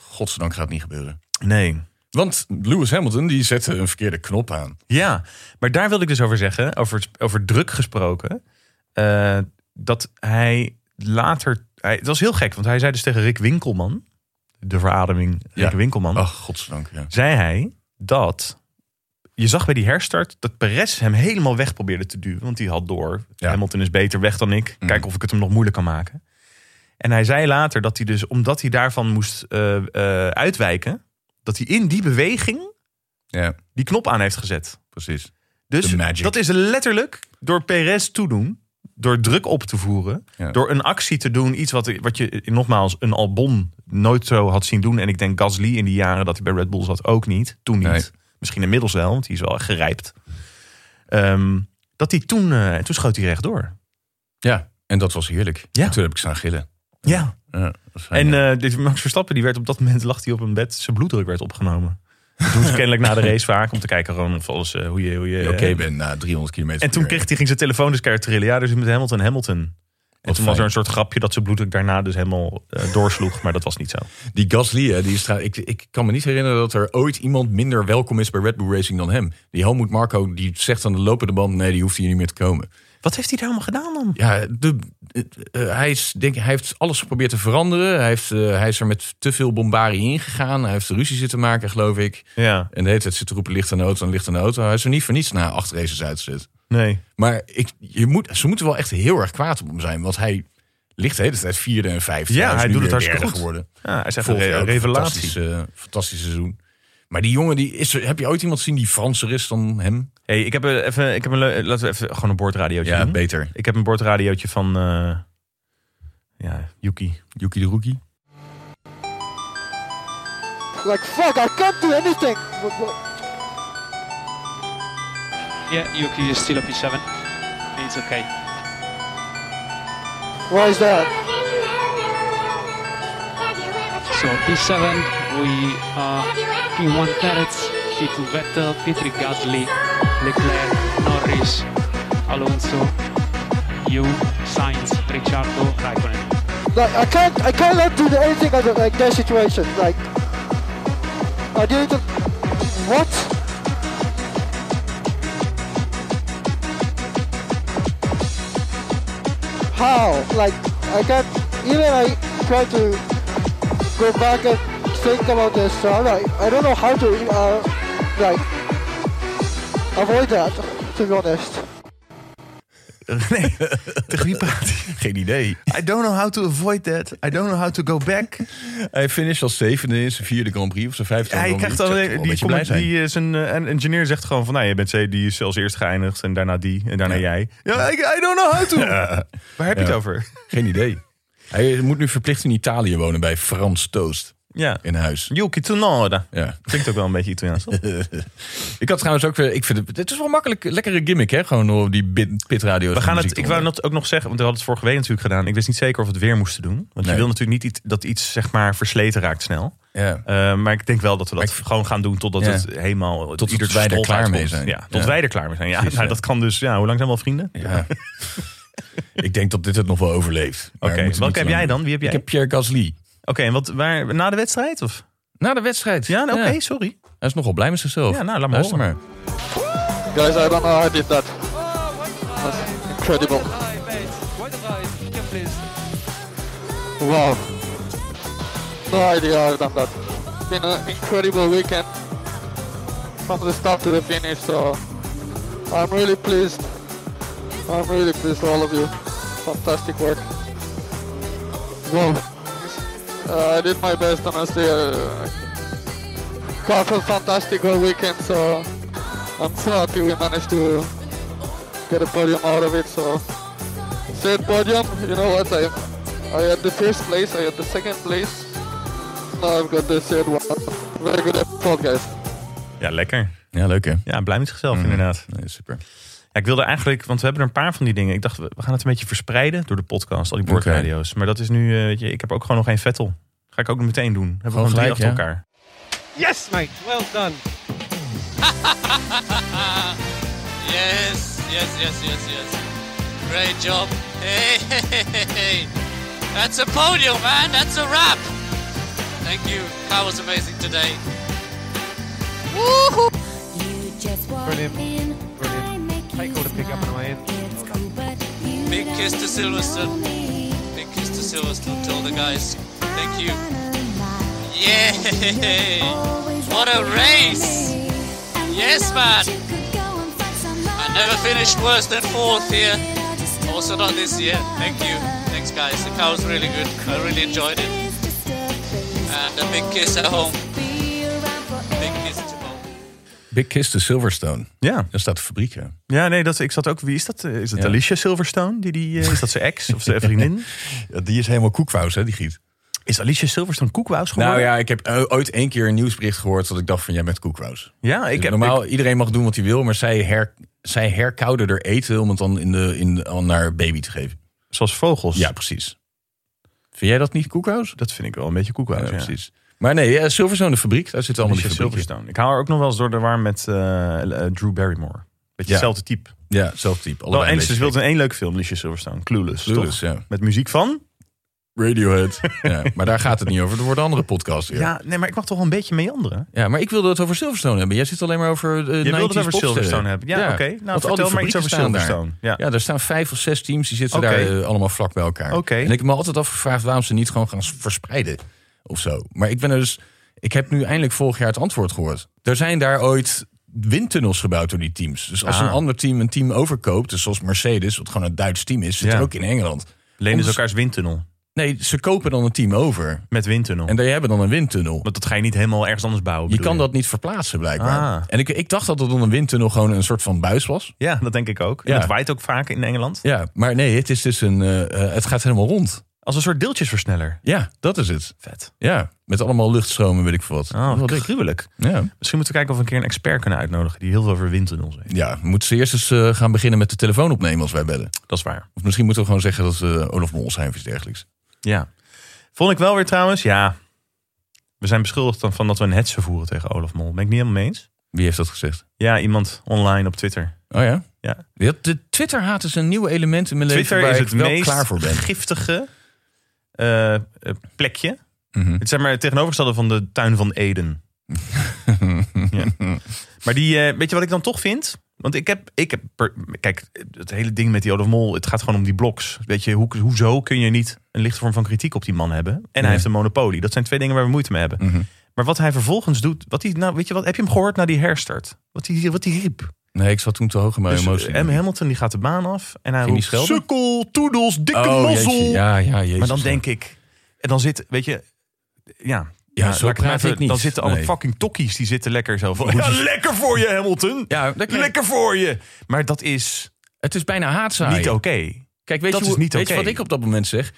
[SPEAKER 2] godzijdank gaat het niet gebeuren.
[SPEAKER 1] Nee.
[SPEAKER 2] Want Lewis Hamilton die zette een verkeerde knop aan.
[SPEAKER 1] Ja, maar daar wilde ik dus over zeggen, over, over druk gesproken. eh, dat hij later. Hij, het was heel gek, want hij zei dus tegen Rick Winkelman, de verademing Rick
[SPEAKER 2] Ja.
[SPEAKER 1] Winkelman,
[SPEAKER 2] Ach, godzijdank. Ja.
[SPEAKER 1] zei hij dat je zag bij die herstart dat Perez hem helemaal weg probeerde te duwen. Want die had door.
[SPEAKER 2] Ja.
[SPEAKER 1] Hamilton is beter weg dan ik. Kijk of ik het hem nog moeilijk kan maken. En hij zei later dat hij dus, omdat hij daarvan moest eh, eh, uitwijken, dat hij in die beweging
[SPEAKER 2] Ja,
[SPEAKER 1] die knop aan heeft gezet.
[SPEAKER 2] precies.
[SPEAKER 1] Dus
[SPEAKER 2] The magic.
[SPEAKER 1] dat is letterlijk door Perez toedoen. Door druk op te voeren.
[SPEAKER 2] Ja.
[SPEAKER 1] Door een actie te doen. Iets wat, wat je eh, nogmaals een Albon nooit zo had zien doen. En ik denk Gasly in die jaren dat hij bij Red Bull zat ook niet. Toen niet.
[SPEAKER 2] Nee.
[SPEAKER 1] Misschien inmiddels wel, want die is wel echt gerijpt. Ehm, dat hij toen, eh, toen schoot hij rechtdoor.
[SPEAKER 2] Ja, en dat was heerlijk.
[SPEAKER 1] Ja.
[SPEAKER 2] En toen heb ik staan gillen.
[SPEAKER 1] Ja.
[SPEAKER 2] Ja, dat was fijn,
[SPEAKER 1] En
[SPEAKER 2] ja.
[SPEAKER 1] eh, dit Max Verstappen die werd op dat moment lag hij op een bed. Zijn bloeddruk werd opgenomen. Dat doen ze kennelijk na de race vaak. Om te kijken gewoon of alles, eh, hoe je... Hoe je
[SPEAKER 2] Je oké ben na 300 kilometer.
[SPEAKER 1] En
[SPEAKER 2] per
[SPEAKER 1] toen
[SPEAKER 2] uur.
[SPEAKER 1] kreeg hij, ging zijn telefoon dus keihard trillen. Ja, dus met Hamilton, Hamilton. En toen was
[SPEAKER 2] fijn.
[SPEAKER 1] er een soort grapje dat zijn bloeddruk daarna dus helemaal eh, doorsloeg. Maar dat was niet zo.
[SPEAKER 2] Die Gasly, hè, die is trouw- ik, ik kan me niet herinneren dat er ooit iemand minder welkom is bij Red Bull Racing dan hem. Die Helmut Marco, die zegt aan de lopende band, nee, die hoeft hier niet meer te komen.
[SPEAKER 1] Wat heeft hij daar allemaal gedaan dan?
[SPEAKER 2] Ja, de, het- eh, hij, is, denk, ik, hij heeft alles geprobeerd te veranderen. Hij, heeft, eh, hij is er met te veel bombarie ingegaan. Hij heeft ruzie zitten maken, geloof ik.
[SPEAKER 1] Ja,
[SPEAKER 2] En de hele tijd zit te roepen, licht aan de auto en licht aan de auto. Hij is er niet voor niets na acht races uitgezet.
[SPEAKER 1] nee.
[SPEAKER 2] Maar ik, je moet, ze moeten wel echt heel erg kwaad op hem zijn. Want hij ligt de hele tijd vierde en vijfde.
[SPEAKER 1] Ja,
[SPEAKER 2] is
[SPEAKER 1] hij
[SPEAKER 2] nu
[SPEAKER 1] doet het
[SPEAKER 2] weer
[SPEAKER 1] hartstikke
[SPEAKER 2] derde
[SPEAKER 1] goed.
[SPEAKER 2] geworden.
[SPEAKER 1] Ja, hij is echt een
[SPEAKER 2] Vorig
[SPEAKER 1] re-
[SPEAKER 2] jaar ook
[SPEAKER 1] revelatie.
[SPEAKER 2] Fantastische, fantastisch seizoen. Maar die jongen, die is, er- heb je ooit iemand zien die Franser is dan hem?
[SPEAKER 1] Hey, ik heb eh, even, ik heb een, leu- laten we even gewoon een boordradiootje doen.
[SPEAKER 2] beter.
[SPEAKER 1] Ik heb een boordradiootje van eh, ja, Yuki.
[SPEAKER 2] Yuki de [laughs] Rookie.
[SPEAKER 4] Like, fuck, I can't do anything. But, but,
[SPEAKER 5] Yeah, Yuki is still up in seven. It's okay.
[SPEAKER 4] why is that?
[SPEAKER 5] So P7, we are P1 Perez, P2 Vettel, P3 Gasly, Leclerc, Norris, Alonso, you, Sainz, Ricciardo, Raikkonen.
[SPEAKER 4] Like, I can't, I cannot do anything under like their situation. Like, I didn't. What? How? Like, I can't. Even I try to go back and think about this. So I'm like, I don't know how to uh, like avoid that. To be honest.
[SPEAKER 1] Nee, tegen wie praat hij?
[SPEAKER 2] Geen idee.
[SPEAKER 1] I don't know how to avoid that. I don't know how to go back.
[SPEAKER 2] Hij finisht als zevende in zijn vierde Grand Prix of zijn vijfde.
[SPEAKER 1] Hij
[SPEAKER 2] Grand Prix.
[SPEAKER 1] krijgt dan
[SPEAKER 2] Ik zou
[SPEAKER 1] die,
[SPEAKER 2] toch wel een beetje blij
[SPEAKER 1] comment-
[SPEAKER 2] zijn.
[SPEAKER 1] die eh, zijn eh, en- engineer zegt gewoon van, nou, je bent ze- die is als eerst geëindigd en daarna die en daarna
[SPEAKER 2] Ja.
[SPEAKER 1] jij. Ja, ik- I don't know how to. Waar heb je
[SPEAKER 2] [laughs] Ja.
[SPEAKER 1] het over?
[SPEAKER 2] Geen idee. Hij moet nu verplicht in Italië wonen bij Frans Toost
[SPEAKER 1] Ja.
[SPEAKER 2] in huis.
[SPEAKER 1] Yuki Tsunoda.
[SPEAKER 2] Ja.
[SPEAKER 1] Klinkt ook wel een beetje Italiaans.
[SPEAKER 2] [laughs]
[SPEAKER 1] toch?
[SPEAKER 2] Ik had trouwens ook weer. Ik vind het, het is wel makkelijk, lekkere gimmick, hè? Gewoon door die bit- pitradio.
[SPEAKER 1] We gaan het, ik wou dat ook nog zeggen, want we hadden het vorige week natuurlijk gedaan. Ik wist niet zeker of we het weer moesten doen. Want
[SPEAKER 2] Nee.
[SPEAKER 1] je wil natuurlijk niet iets- dat iets zeg maar versleten raakt snel.
[SPEAKER 2] Ja.
[SPEAKER 1] Eh, maar ik denk wel dat we dat
[SPEAKER 2] Maar ik-
[SPEAKER 1] gewoon gaan doen totdat
[SPEAKER 2] Ja.
[SPEAKER 1] het helemaal...
[SPEAKER 2] Tot
[SPEAKER 1] ieder
[SPEAKER 2] wij er
[SPEAKER 1] strot
[SPEAKER 2] klaar mee
[SPEAKER 1] uitkomt.
[SPEAKER 2] zijn.
[SPEAKER 1] Ja, tot
[SPEAKER 2] Ja.
[SPEAKER 1] wij er klaar mee zijn. Ja,
[SPEAKER 2] Precies,
[SPEAKER 1] nou,
[SPEAKER 2] ja.
[SPEAKER 1] dat kan dus... Ja, hoe lang zijn we al vrienden?
[SPEAKER 2] Ja. [laughs] ik denk dat dit het nog wel overleeft. Maar
[SPEAKER 1] Oké,
[SPEAKER 2] we moeten
[SPEAKER 1] welke
[SPEAKER 2] niet
[SPEAKER 1] heb
[SPEAKER 2] te lang-
[SPEAKER 1] jij dan? Wie heb jij?
[SPEAKER 2] Ik heb Pierre Gasly.
[SPEAKER 1] Oké, en wat, waar, na de wedstrijd? Of?
[SPEAKER 2] Na de wedstrijd.
[SPEAKER 1] Ja, oké, sorry.
[SPEAKER 2] Hij is nogal blij met zichzelf.
[SPEAKER 1] Ja, nou, laat maar
[SPEAKER 2] Luister
[SPEAKER 1] horen.
[SPEAKER 2] maar.
[SPEAKER 4] Guys, I don't know how I did that. That's incredible. Wow. No idea how I've done that. It's been an incredible weekend from the start to the finish, so I'm really pleased. I'm really pleased for all of you. Fantastic work. Wow. Uh, I did my best, honestly. Uh, quite a fantastic whole weekend, so I'm so happy we managed to get a podium out of it. So, third podium, you know what? I, I had the first place, I had the second place. Now I've got the third one. Very good effort, guys.
[SPEAKER 1] Ja, lekker. Mhm.
[SPEAKER 2] Ja, leuk hè?
[SPEAKER 1] Ja, blij met zichzelf inderdaad.
[SPEAKER 2] Nee, super.
[SPEAKER 1] Ja, ik wilde eigenlijk, want we hebben er een paar van die dingen. Ik dacht, we we gaan het een beetje verspreiden door de podcast, al die boordradio's. Maar dat is nu, eh, weet je, ik heb ook gewoon nog geen Vettel. Ga ik ook meteen doen. Hebben we gewoon drie
[SPEAKER 2] gelijk,
[SPEAKER 1] achter
[SPEAKER 2] ja.
[SPEAKER 1] elkaar.
[SPEAKER 6] Yes, mate. Well done.
[SPEAKER 7] Yes, yes, yes, yes, yes. Great job. Hey, hey, hey, hey. That's a podium, man. That's a wrap. Thank you. Car was amazing today. Woohoo!
[SPEAKER 6] Brilliant. Brilliant.
[SPEAKER 8] Brilliant. Brilliant.
[SPEAKER 6] Take all the pick up and away in.
[SPEAKER 8] Big kiss to Silverstone.
[SPEAKER 7] Big kiss to Silverstone to all the guys. Thank
[SPEAKER 8] Thank
[SPEAKER 7] you.
[SPEAKER 8] you.
[SPEAKER 7] Yeah. [laughs]
[SPEAKER 8] What a race!
[SPEAKER 7] Yes, man. I never finished worse than fourth here. Also not this year. Thank you. Thanks, guys. The car was really good. I really enjoyed it. And a big kiss at home. Big kiss to home.
[SPEAKER 2] Big Kiss to Silverstone.
[SPEAKER 1] Ja,
[SPEAKER 2] Daar staat de fabriek, ja.
[SPEAKER 1] ja nee, dat, ik zat ook. Wie is dat? Eh, Is dat
[SPEAKER 2] Ja.
[SPEAKER 1] Alicia Silverstone? Die, die, eh, is dat zijn ex of [laughs] zijn vriendin?
[SPEAKER 2] Ja, Die is helemaal koekwous, hè, die giet.
[SPEAKER 1] Is Alicia Silverstone koekwous geworden?
[SPEAKER 2] Nou ja, ik heb eh, ooit één keer een nieuwsbericht gehoord dat ik dacht van jij bent koekwous.
[SPEAKER 1] ja, ik
[SPEAKER 2] Dus
[SPEAKER 1] heb
[SPEAKER 2] normaal, iedereen mag doen wat hij wil, maar zij, her, zij herkouden er eten om het dan in de, in, de- aan haar baby te geven.
[SPEAKER 1] ik- zoals vogels.
[SPEAKER 2] Ja, precies. Vind jij dat niet koekhuis?
[SPEAKER 1] dat vind ik wel een beetje koekwous.
[SPEAKER 2] Ja,
[SPEAKER 1] ja.
[SPEAKER 2] precies. Maar nee, ja, Silverstone, de fabriek, daar zitten allemaal
[SPEAKER 1] Alicia
[SPEAKER 2] die fabrieken.
[SPEAKER 1] Silverstone. Ik hou haar ook nog wel eens door de war met eh, eh, Drew Barrymore. Beetje
[SPEAKER 2] Ja.
[SPEAKER 1] hetzelfde type.
[SPEAKER 2] Ja, zelf type.
[SPEAKER 1] Wel,
[SPEAKER 2] Allebei
[SPEAKER 1] en
[SPEAKER 2] een
[SPEAKER 1] ze
[SPEAKER 2] beetje
[SPEAKER 1] speelt Oh, in één leuke film, Alicia Silverstone. Clueless,
[SPEAKER 2] Clueless,
[SPEAKER 1] toch?
[SPEAKER 2] ja.
[SPEAKER 1] Met muziek van?
[SPEAKER 2] Radiohead. ja, maar daar gaat het niet over. Er wordt een [laughs] andere podcast weer.
[SPEAKER 1] Ja.
[SPEAKER 2] Ja.
[SPEAKER 1] nee, maar ik mag toch wel een beetje meanderen?
[SPEAKER 2] maar ik wilde het over Silverstone hebben. Jij zit alleen maar over eh, de
[SPEAKER 1] Je wilde het over Silverstone hebben. Ja, oké.
[SPEAKER 2] Want al
[SPEAKER 1] Nou,
[SPEAKER 2] die
[SPEAKER 1] vertel maar iets
[SPEAKER 2] fabrieken
[SPEAKER 1] over
[SPEAKER 2] staan daar.
[SPEAKER 1] Silverstone. Ja.
[SPEAKER 2] Ja, er staan vijf of zes teams die zitten
[SPEAKER 1] Oké.
[SPEAKER 2] daar eh, allemaal vlak bij elkaar.
[SPEAKER 1] Oké.
[SPEAKER 2] En ik heb me altijd afgevraagd waarom ze niet gewoon gaan s- verspreiden of zo. Maar ik ben er dus, ik heb nu eindelijk vorig jaar het antwoord gehoord. Er zijn daar ooit windtunnels gebouwd door die teams. Dus als
[SPEAKER 1] Ah.
[SPEAKER 2] een ander team een team overkoopt, dus zoals Mercedes, wat gewoon een Duits team is, zit
[SPEAKER 1] Ja.
[SPEAKER 2] er ook in Engeland.
[SPEAKER 1] Lenen ze
[SPEAKER 2] Om-
[SPEAKER 1] elkaars windtunnel.
[SPEAKER 2] Nee, ze kopen dan een team over.
[SPEAKER 1] Met windtunnel.
[SPEAKER 2] En daar hebben dan een windtunnel.
[SPEAKER 1] Want dat ga je niet helemaal ergens anders bouwen.
[SPEAKER 2] Je
[SPEAKER 1] bedoel
[SPEAKER 2] kan dat niet verplaatsen blijkbaar.
[SPEAKER 1] Ah.
[SPEAKER 2] En ik, ik dacht dat dat dan een windtunnel gewoon een soort van buis was.
[SPEAKER 1] Ja, dat denk ik ook. En
[SPEAKER 2] Ja.
[SPEAKER 1] het waait ook vaak in Engeland.
[SPEAKER 2] Ja, maar nee, het is dus een, eh, eh, het gaat helemaal rond.
[SPEAKER 1] Als een soort deeltjesversneller.
[SPEAKER 2] Ja, dat is het.
[SPEAKER 1] Vet.
[SPEAKER 2] Ja, met allemaal luchtstromen, weet ik veel wat.
[SPEAKER 1] Oh,
[SPEAKER 2] Wel
[SPEAKER 1] wat
[SPEAKER 2] dik.
[SPEAKER 1] gruwelijk.
[SPEAKER 2] Ja.
[SPEAKER 1] Misschien moeten we kijken of we een keer een expert kunnen uitnodigen... die heel veel over windtunnels weet.
[SPEAKER 2] ja, moeten ze eerst eens eh, gaan beginnen met de telefoon opnemen als wij bellen.
[SPEAKER 1] Dat is waar.
[SPEAKER 2] Of misschien moeten we gewoon zeggen dat we Olaf Mol zijn of iets dergelijks.
[SPEAKER 1] Ja. Vond ik wel weer trouwens, ja... We zijn beschuldigd dan van dat we een hetze voeren tegen Olaf Mol. Ben ik niet helemaal mee eens?
[SPEAKER 2] Wie heeft dat gezegd?
[SPEAKER 1] Ja, iemand online op Twitter.
[SPEAKER 2] Oh ja?
[SPEAKER 1] Ja.
[SPEAKER 2] Ja, De Twitter-haat is een nieuw element in mijn
[SPEAKER 1] Twitter
[SPEAKER 2] leven
[SPEAKER 1] is
[SPEAKER 2] waar
[SPEAKER 1] het
[SPEAKER 2] ik wel
[SPEAKER 1] meest
[SPEAKER 2] klaar voor ben.
[SPEAKER 1] giftige eh, eh, plekje.
[SPEAKER 2] Mhm.
[SPEAKER 1] Het is zeg maar het tegenovergestelde van de tuin van
[SPEAKER 2] [laughs]
[SPEAKER 1] Eden. ja. Maar die, eh, weet je wat ik dan toch vind? Want ik heb, ik heb per- kijk, het hele ding met die Olaf Mol, het gaat gewoon om die bloks. Weet je, hoe, hoezo kun je niet een lichte vorm van kritiek op die man hebben? En hij heeft een monopolie. Dat zijn twee dingen waar we moeite mee hebben.
[SPEAKER 2] Mhm.
[SPEAKER 1] Maar wat hij vervolgens doet, wat hij, nou, weet je wat, heb je hem gehoord na die herstart? Wat hij, wat hij riep?
[SPEAKER 2] Nee, ik zat toen te hoog in mijn
[SPEAKER 1] Dus,
[SPEAKER 2] emotie.
[SPEAKER 1] eh, Em Hamilton die gaat de baan af en hij
[SPEAKER 2] Ging
[SPEAKER 1] roept,
[SPEAKER 2] die schelden?
[SPEAKER 1] sukkel, toedels, dikke
[SPEAKER 2] oh,
[SPEAKER 1] mazzel.
[SPEAKER 2] jeetje. Ja, ja, jezus.
[SPEAKER 1] Maar dan denk ik, en dan zit, weet je, ja.
[SPEAKER 2] Ja,
[SPEAKER 1] eh,
[SPEAKER 2] zo
[SPEAKER 1] laat het maar
[SPEAKER 2] praat ik niet.
[SPEAKER 1] Dan zitten alle
[SPEAKER 2] Nee.
[SPEAKER 1] fucking tokkies, die zitten lekker zo
[SPEAKER 2] [laughs]
[SPEAKER 1] van... Ja, lekker voor je, Hamilton!
[SPEAKER 2] Ja, dat krijg-
[SPEAKER 1] lekker voor je! Maar dat is
[SPEAKER 2] Het is bijna haatzaaien.
[SPEAKER 1] niet oké.
[SPEAKER 2] Kijk, weet,
[SPEAKER 1] Dat
[SPEAKER 2] je,
[SPEAKER 1] is
[SPEAKER 2] hoe-
[SPEAKER 1] niet
[SPEAKER 2] weet
[SPEAKER 1] oké.
[SPEAKER 2] je wat ik op dat moment zeg?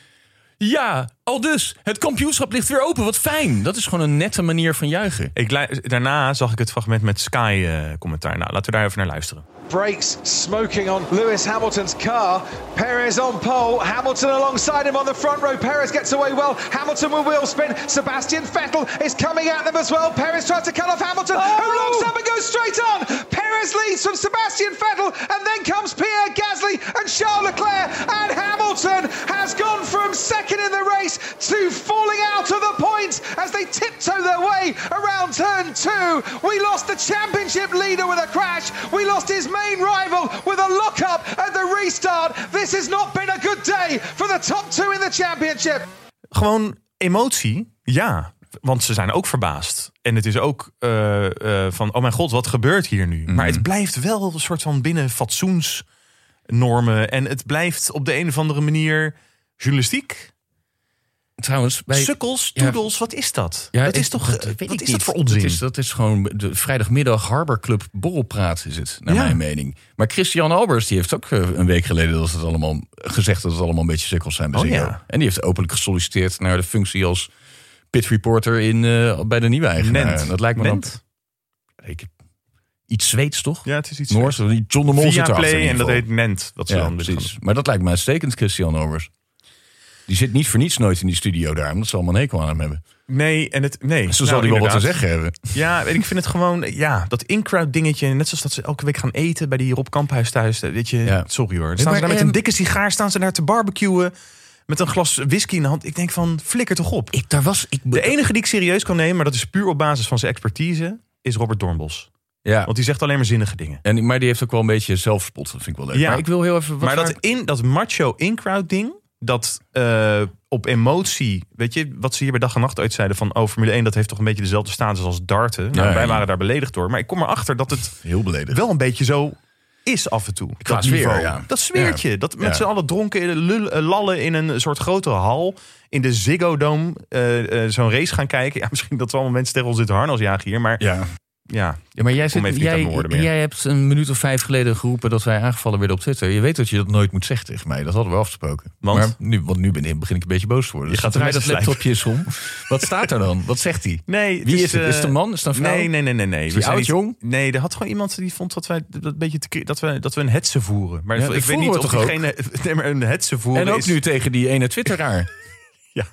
[SPEAKER 2] Ja, al dus. Het kampioenschap ligt weer open. Wat fijn. Dat is gewoon een nette manier van juichen.
[SPEAKER 1] Ik lu- daarna zag ik het fragment met Sky-commentaar. nou, laten we daar even naar luisteren.
[SPEAKER 9] brakes smoking on Lewis Hamilton's car. Perez on pole, Hamilton alongside him on the front row. Perez gets away well. Hamilton will wheel spin. Sebastian Vettel is coming at them as well. Perez tries to cut off Hamilton, who locks up and goes straight on. Perez leads from Sebastian Vettel, and then comes Pierre Gasly and Charles Leclerc. And Hamilton has gone from second in the race to falling out of the points as they tiptoe their way around turn two. We lost the championship leader with a crash. We lost his main rival with a lockup at the restart. This has not been a good day for the top two in the championship.
[SPEAKER 1] Gewoon emotie, ja. Want ze zijn ook verbaasd. En het is ook eh, eh, van, oh mijn god, wat gebeurt hier nu? Maar
[SPEAKER 2] Mhm.
[SPEAKER 1] het blijft wel een soort van binnen fatsoensnormen. En het blijft op de een of andere manier journalistiek.
[SPEAKER 2] Trouwens, bij...
[SPEAKER 1] Sukkels,
[SPEAKER 2] Ja.
[SPEAKER 1] toedels, wat is dat?
[SPEAKER 2] Ja,
[SPEAKER 1] dat is
[SPEAKER 2] ik-
[SPEAKER 1] toch,
[SPEAKER 2] dat
[SPEAKER 1] eh,
[SPEAKER 2] weet
[SPEAKER 1] wat
[SPEAKER 2] ik
[SPEAKER 1] is dat
[SPEAKER 2] niet.
[SPEAKER 1] voor onzin?
[SPEAKER 2] Dat is, dat is gewoon de vrijdagmiddag Harbor Club borrelpraat is het, naar
[SPEAKER 1] Ja.
[SPEAKER 2] mijn mening. Maar Christian Albers die heeft ook eh, een week geleden dat het allemaal, gezegd dat het allemaal een beetje sukkels zijn bij
[SPEAKER 1] Oh,
[SPEAKER 2] Ziggo.
[SPEAKER 1] ja.
[SPEAKER 2] En die heeft openlijk gesolliciteerd naar de functie als pit reporter in, eh, bij de nieuwe eigenaar.
[SPEAKER 1] Nent.
[SPEAKER 2] En Dat lijkt me
[SPEAKER 1] Nent?
[SPEAKER 2] dan ik, iets Zweeds toch?
[SPEAKER 1] Ja, het is iets
[SPEAKER 2] Noors, John de Mol zit
[SPEAKER 1] via
[SPEAKER 2] erachter in
[SPEAKER 1] Play
[SPEAKER 2] ieder
[SPEAKER 1] en dat
[SPEAKER 2] geval.
[SPEAKER 1] heet Nent. Dat ze
[SPEAKER 2] Ja,
[SPEAKER 1] dan dit gaan
[SPEAKER 2] precies. Maar dat lijkt me uitstekend, Christian Albers. Die zit niet voor niets nooit in die studio daar, omdat ze allemaal een hekel aan hem hebben.
[SPEAKER 1] doen. Nee, en het, nee.
[SPEAKER 2] Zo
[SPEAKER 1] Nou,
[SPEAKER 2] zal hij wel wat te
[SPEAKER 1] inderdaad.
[SPEAKER 2] zeggen hebben.
[SPEAKER 1] Ja, en ik vind het gewoon, ja, dat in-crowd dingetje. Net zoals dat ze elke week gaan eten bij die Rob Kamphuis thuis. eh, Weet je,
[SPEAKER 2] Ja.
[SPEAKER 1] sorry hoor. Dan staan ze
[SPEAKER 2] maar,
[SPEAKER 1] daar met
[SPEAKER 2] ehm,
[SPEAKER 1] een dikke sigaar, staan ze daar te barbecuen. Met een glas whisky in de hand. Ik denk van, flikker toch op.
[SPEAKER 2] Ik, daar was, ik,
[SPEAKER 1] De enige die ik serieus kan nemen, maar dat is puur op basis van zijn expertise, is Robert Dornbos.
[SPEAKER 2] ja.
[SPEAKER 1] Want die zegt alleen maar zinnige dingen.
[SPEAKER 2] En, maar die heeft ook wel een beetje zelfspot. Dat vind ik wel leuk.
[SPEAKER 1] Ja.
[SPEAKER 2] Maar ik wil heel even... Wat
[SPEAKER 1] maar dat,
[SPEAKER 2] waar-
[SPEAKER 1] in, dat macho in-crowd ding, dat eh, op emotie, weet je, wat ze hier bij dag en nacht ooit zeiden van, oh, Formule 1, dat heeft toch een beetje dezelfde status als darten. Nou,
[SPEAKER 2] Ja,
[SPEAKER 1] wij
[SPEAKER 2] ja.
[SPEAKER 1] waren daar beledigd door, maar ik kom erachter dat het
[SPEAKER 2] Heel beledigd.
[SPEAKER 1] wel een beetje zo is af en toe.
[SPEAKER 2] Qua
[SPEAKER 1] dat
[SPEAKER 2] sfeer,
[SPEAKER 1] niveau.
[SPEAKER 2] ja.
[SPEAKER 1] Dat sfeertje,
[SPEAKER 2] Ja.
[SPEAKER 1] dat met
[SPEAKER 2] Ja.
[SPEAKER 1] z'n allen dronken lul- eh, lallen in een soort grote hal in de Ziggo Dome eh, eh, zo'n race gaan kijken. [laughs] Ja, misschien dat we allemaal mensen tegen ons in het harnas jagen hier, maar ja.
[SPEAKER 2] Ja. Ja, maar
[SPEAKER 1] Kom
[SPEAKER 2] jij, zit,
[SPEAKER 1] even niet aan
[SPEAKER 2] jij,
[SPEAKER 1] mijn woorden meer.
[SPEAKER 2] jij hebt een minuut of vijf geleden geroepen dat wij aangevallen werden op Twitter. Je weet dat je dat nooit moet zeggen tegen mij. Dat hadden we afgesproken.
[SPEAKER 1] Want?
[SPEAKER 2] Maar nu, want nu ben ik, begin ik een beetje boos te worden. Dus
[SPEAKER 1] Je gaat
[SPEAKER 2] draai
[SPEAKER 1] de
[SPEAKER 2] dat
[SPEAKER 1] mensen
[SPEAKER 2] laptopje eens om. [laughs] Wat staat er dan? Wat zegt hij?
[SPEAKER 1] Nee,
[SPEAKER 2] Wie is het?
[SPEAKER 1] eh,
[SPEAKER 2] Is het een man? Is het een vrouw?
[SPEAKER 1] Nee, nee, nee, nee. nee. Is
[SPEAKER 2] hij oud, jong?
[SPEAKER 1] Nee, er had gewoon iemand die vond dat wij dat een beetje te, cri- dat we dat we een hetze voeren. Maar
[SPEAKER 2] Ja,
[SPEAKER 1] ik
[SPEAKER 2] dat
[SPEAKER 1] weet niet
[SPEAKER 2] voeren we
[SPEAKER 1] of
[SPEAKER 2] toch ook?
[SPEAKER 1] diegene [laughs] nee, maar een hetze voeren
[SPEAKER 2] en ook
[SPEAKER 1] is,
[SPEAKER 2] nu tegen die ene Twitteraar.
[SPEAKER 1] [laughs] Ja,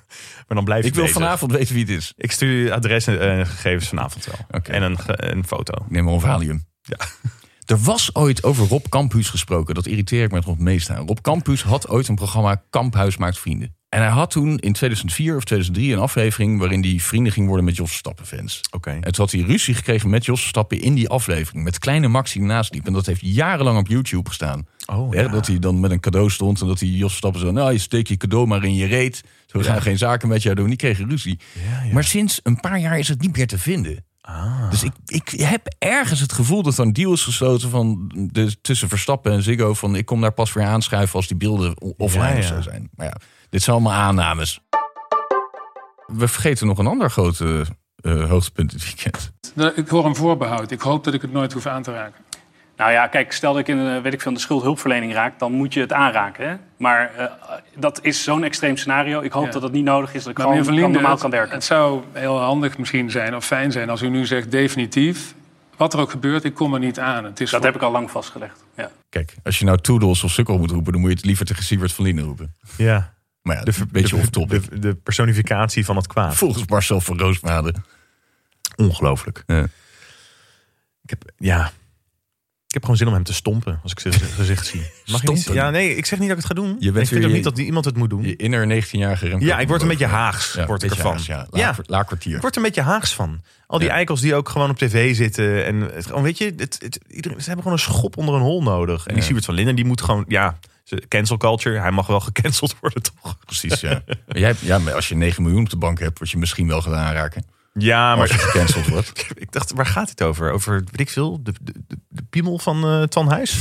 [SPEAKER 1] maar dan blijf
[SPEAKER 2] ik
[SPEAKER 1] je
[SPEAKER 2] wil
[SPEAKER 1] bezig.
[SPEAKER 2] vanavond weten wie het is.
[SPEAKER 1] Ik stuur je adres en eh, gegevens vanavond wel.
[SPEAKER 2] Oké.
[SPEAKER 1] En een, ge- een foto.
[SPEAKER 2] Ik neem maar een Valium.
[SPEAKER 1] Ja.
[SPEAKER 2] Er was ooit over Rob Kamphuis gesproken. Dat irriteer ik me nog het meest aan. Rob Kamphuis had ooit een programma Kamphuis maakt vrienden. En hij had toen in 2004 of 2003 een aflevering... waarin hij vrienden ging worden met Jos Stappen fans.
[SPEAKER 1] Oké.
[SPEAKER 2] En toen had hij ruzie gekregen met Jos Stappen in die aflevering. Met kleine Max die naast liep. En dat heeft jarenlang op YouTube gestaan.
[SPEAKER 1] Oh,
[SPEAKER 2] Hè,
[SPEAKER 1] ja.
[SPEAKER 2] Dat hij dan met een cadeau stond en dat hij Jos Stappen zo... nou, je steek je cadeau maar in je reet. Zo, We gaan geen zaken met jou doen. Die kregen ruzie.
[SPEAKER 1] ja.
[SPEAKER 2] Maar sinds een paar jaar is het niet meer te vinden. Dus ik, ik heb ergens het gevoel dat er een deal is gesloten van de, tussen Verstappen en Ziggo. Van ik kom daar pas weer aanschuiven als die beelden o- offline
[SPEAKER 1] Ja, ja.
[SPEAKER 2] of zo zijn. Maar ja, dit zijn allemaal aannames. We vergeten nog een ander grote eh, hoogtepunt dit weekend.
[SPEAKER 10] Ik hoor een voorbehoud. Ik hoop dat ik het nooit hoef aan te raken. Nou ja, kijk, stel dat ik in eh, weet ik veel, de schuldhulpverlening raak, dan moet je het aanraken. Hè? Maar eh, dat is zo'n extreem scenario. Ik hoop dat dat niet nodig is, dat ik gewoon kan- normaal kan werken.
[SPEAKER 11] Het zou heel handig misschien zijn of fijn zijn als u nu zegt definitief. Wat er ook gebeurt, ik kom er niet aan. Het is
[SPEAKER 10] Dat heb ik al lang vastgelegd. Ja.
[SPEAKER 2] Kijk, als je nou Toedels of Sukkel moet roepen, dan moet je het liever tegen Sievert van Linden roepen.
[SPEAKER 1] Ja.
[SPEAKER 2] Maar ja, dat is een beetje off topic.
[SPEAKER 1] De, de personificatie van het kwaad.
[SPEAKER 2] Volgens Marcel van Roosmalen.
[SPEAKER 1] Ongelooflijk.
[SPEAKER 2] Ja.
[SPEAKER 1] Ik heb, ja. Ik heb gewoon zin om hem te stompen als ik zijn gezicht zie. Mag je niet-
[SPEAKER 2] Stompen?
[SPEAKER 1] ja, nee, ik zeg niet dat ik het ga doen.
[SPEAKER 2] bent
[SPEAKER 1] Maar ik
[SPEAKER 2] weer
[SPEAKER 1] vind ook
[SPEAKER 2] je-
[SPEAKER 1] niet dat iemand het moet doen.
[SPEAKER 2] Je inner 19-jarige Remco.
[SPEAKER 1] Ja, ik word een beetje
[SPEAKER 2] Boven.
[SPEAKER 1] haags.
[SPEAKER 2] Ja,
[SPEAKER 1] word ik
[SPEAKER 2] beetje
[SPEAKER 1] ervan.
[SPEAKER 2] haags, ja.
[SPEAKER 1] Ja.
[SPEAKER 2] Laag, laag kwartier.
[SPEAKER 1] Ik word er een beetje haags van. Al die
[SPEAKER 2] Ja.
[SPEAKER 1] eikels die ook gewoon op tv zitten. En het, gewoon, weet je, het, het, iedereen, ze hebben gewoon een schop onder een hol nodig. En die
[SPEAKER 2] Ja.
[SPEAKER 1] Siebert van Linden, die moet gewoon, ja, ze- cancel culture. Hij mag wel gecanceld [laughs] worden, toch?
[SPEAKER 2] Precies, ja. [laughs] Maar jij, ja, maar als je 9 miljoen op de bank hebt, word je misschien wel gaan aanraken.
[SPEAKER 1] Ja,
[SPEAKER 2] Als je
[SPEAKER 1] maar
[SPEAKER 2] gecanceld wordt.
[SPEAKER 1] [laughs] Oh, ik dacht, waar gaat dit over? Over, weet ik veel, de, de, de, de piemel van eh, Twan Huis?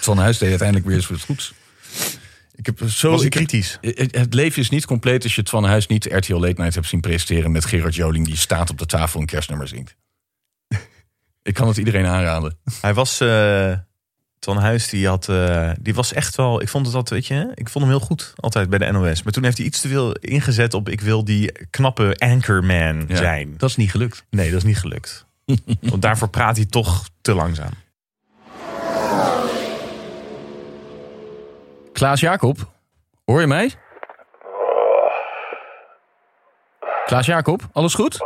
[SPEAKER 2] Van Huis deed uiteindelijk weer eens wat goeds. Ik heb eh, zo
[SPEAKER 1] Was hij
[SPEAKER 2] ik heb-
[SPEAKER 1] kritisch?
[SPEAKER 2] het- het leven is niet compleet als je het van Huis niet RTL Late Night hebt zien presenteren met Gerard Joling die staat op de tafel en kerstnummer zingt. [laughs] Ik kan het iedereen aanraden.
[SPEAKER 1] Hij was, eh Twan Huis, die had, eh, die was echt wel, ik vond het altijd, weet je, ik vond hem heel goed altijd bij de NOS. Maar toen heeft hij iets te veel ingezet op, ik wil die knappe anchorman
[SPEAKER 2] Ja,
[SPEAKER 1] zijn.
[SPEAKER 2] Dat is niet gelukt.
[SPEAKER 1] Nee, dat is niet
[SPEAKER 2] [laughs]
[SPEAKER 1] gelukt. Want daarvoor praat hij toch te langzaam.
[SPEAKER 2] Klaas Jacob, hoor je mij? Klaas Jacob, alles goed?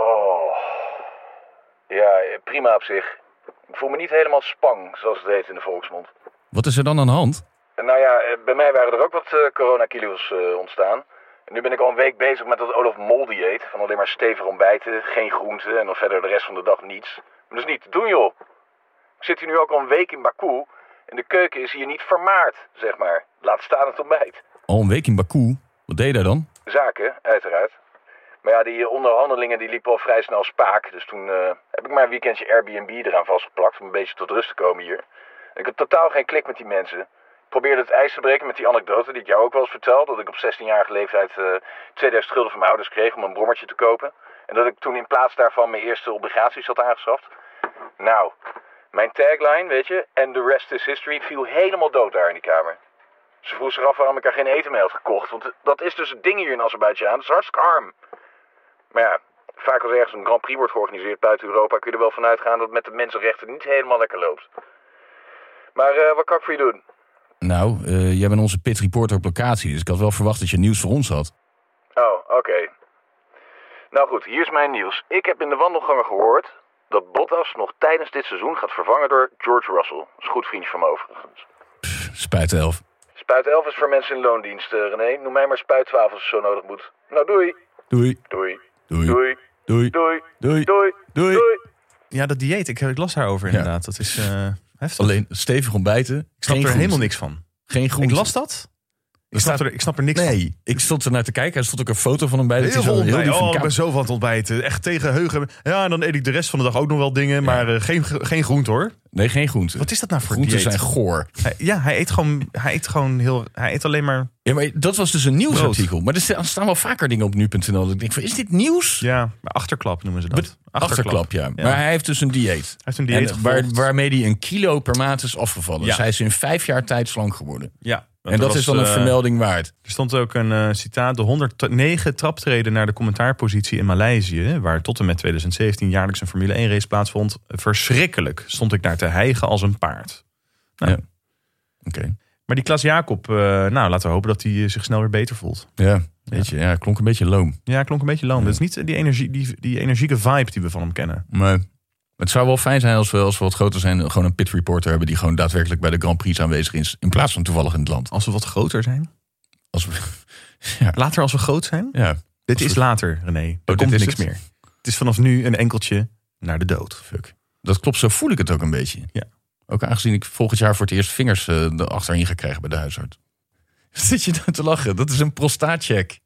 [SPEAKER 12] Ja, eh, prima op zich. Ik voel me niet helemaal spang, zoals het heet in de volksmond.
[SPEAKER 2] Wat is er dan aan de hand?
[SPEAKER 12] En Nou ja, eh, bij mij waren er ook wat eh, coronakilo's eh, ontstaan. En nu ben ik al een week bezig met dat Olaf Mol dieet. Van alleen maar stevig ontbijten, geen groenten en dan verder de rest van de dag niets. Maar dat is niet te doen, joh. Ik zit hier nu ook al een week in Baku. En de keuken is hier niet vermaard, zeg maar. Laat staan het ontbijt.
[SPEAKER 2] Al een week in Baku. Wat deed je daar dan?
[SPEAKER 12] Zaken, uiteraard. Maar ja, die onderhandelingen die liepen al vrij snel spaak. Dus toen eh, heb ik maar een weekendje Airbnb eraan vastgeplakt om een beetje tot rust te komen hier. Ik had totaal geen klik met die mensen. Ik probeerde het ijs te breken met die anekdote die ik jou ook wel eens vertel. Dat ik op 16-jarige leeftijd eh 2000 gulden van mijn ouders kreeg om een brommertje te kopen. En dat ik toen in plaats daarvan mijn eerste obligaties had aangeschaft. Nou, mijn tagline, weet je, and the rest is history, viel helemaal dood daar in die kamer. Ze vroeg zich af waarom ik er geen eten mee had gekocht. Want dat is dus het ding hier in Azerbeidzjan. Het is hartstikke arm. Maar ja, vaak als ergens een Grand Prix wordt georganiseerd buiten Europa... kun je er wel van uitgaan dat het met de mensenrechten niet helemaal lekker loopt. Maar eh, wat kan ik voor je doen?
[SPEAKER 2] Nou, eh, jij bent onze pit reporter op locatie, dus ik had wel verwacht dat je nieuws voor ons had.
[SPEAKER 12] Oh, oké. Nou goed, hier is mijn nieuws. Ik heb in de wandelgangen gehoord... dat Bottas nog tijdens dit seizoen gaat vervangen door George Russell. Dat is een goed vriendje van me overigens.
[SPEAKER 2] Spijt elf.
[SPEAKER 12] Spuit 11 is voor mensen in loondienst, eh, René. Noem mij maar spuit 12 als het zo nodig moet. Nou, doei.
[SPEAKER 2] Doei.
[SPEAKER 12] Doei.
[SPEAKER 2] Doei.
[SPEAKER 12] Doei. Doei.
[SPEAKER 2] Doei. Doei.
[SPEAKER 12] Doei.
[SPEAKER 2] Doei.
[SPEAKER 12] Doei.
[SPEAKER 1] Ja, dat dieet, ik, ik las daarover inderdaad. Dat is eh heftig.
[SPEAKER 2] Alleen stevig ontbijten.
[SPEAKER 1] ik snap er helemaal niks van.
[SPEAKER 2] Geen groente.
[SPEAKER 1] Ik las dat. Ik snap, er, ik snap er niks
[SPEAKER 2] nee, ik stond er naar te kijken. Er stond ook een foto van hem bij.
[SPEAKER 1] van.
[SPEAKER 2] dat
[SPEAKER 1] Heel
[SPEAKER 2] hij
[SPEAKER 1] veel
[SPEAKER 2] zo heel
[SPEAKER 1] ontbijt.
[SPEAKER 2] die van
[SPEAKER 1] Oh, ik
[SPEAKER 2] kaap-
[SPEAKER 1] ben zo van het ontbijten. Echt tegen heugen. Ja, en dan eet ik de rest van de dag ook nog wel dingen. Maar eh, geen, geen groente hoor.
[SPEAKER 2] Nee, geen groente.
[SPEAKER 1] Wat is dat nou voor
[SPEAKER 2] Groenten
[SPEAKER 1] dieet?
[SPEAKER 2] zijn goor.
[SPEAKER 1] Hij- ja, hij eet gewoon, hij eet gewoon heel. Hij eet alleen maar.
[SPEAKER 2] Ja, maar dat was dus een nieuwsartikel. Maar er sta- staan wel vaker dingen op nu.nl. Dat ik denk van, is dit nieuws?
[SPEAKER 1] Ja, achterklap noemen ze dat.
[SPEAKER 2] Achterklap, ja. Maar hij heeft dus een dieet.
[SPEAKER 1] heeft een dieet
[SPEAKER 2] En waar,
[SPEAKER 1] gevolgd.
[SPEAKER 2] waarmee hij een kilo per maand is afgevallen.
[SPEAKER 1] Ja.
[SPEAKER 2] Dus hij is in vijf jaar tijd slank geworden.
[SPEAKER 1] Ja. eh,
[SPEAKER 2] En dat is dan een vermelding waard.
[SPEAKER 1] Er stond ook een eh, citaat. De 109 traptreden naar de commentaarpositie in Maleisië... waar tot en met 2017 jaarlijks een Formule 1 race plaatsvond... verschrikkelijk stond ik daar te hijgen als een paard. Nou.
[SPEAKER 2] Ja. Oké.
[SPEAKER 1] Maar die Klas Jacob, eh, nou laten we hopen dat hij eh, zich snel weer beter voelt.
[SPEAKER 2] Ja, weet je. Ja, klonk een beetje loom.
[SPEAKER 1] Ja, klonk een beetje loom. Dat is niet eh, die, energie, die, die energieke vibe die we van hem kennen.
[SPEAKER 2] Maar het zou wel fijn zijn als we, als we wat groter zijn... gewoon een pit reporter hebben die gewoon daadwerkelijk bij de Grand Prix aanwezig is... in plaats van toevallig in het land.
[SPEAKER 1] Als we wat groter zijn.
[SPEAKER 2] Als we, [laughs] ja.
[SPEAKER 1] Later als we groot zijn.
[SPEAKER 2] ja.
[SPEAKER 1] Dit
[SPEAKER 2] Als
[SPEAKER 1] is
[SPEAKER 2] we- Oh,
[SPEAKER 1] later, René. Er
[SPEAKER 2] dit
[SPEAKER 1] komt
[SPEAKER 2] is
[SPEAKER 1] niks
[SPEAKER 2] het?
[SPEAKER 1] meer. Het is vanaf nu een enkeltje naar de dood.
[SPEAKER 2] Fuck. Dat klopt, zo voel ik het ook een beetje.
[SPEAKER 1] Ja.
[SPEAKER 2] Ook aangezien ik volgend jaar voor het eerst vingers eh, achterin ga krijgen bij de huisarts. [laughs] Zit je nou te lachen? Dat is een prostaatcheck.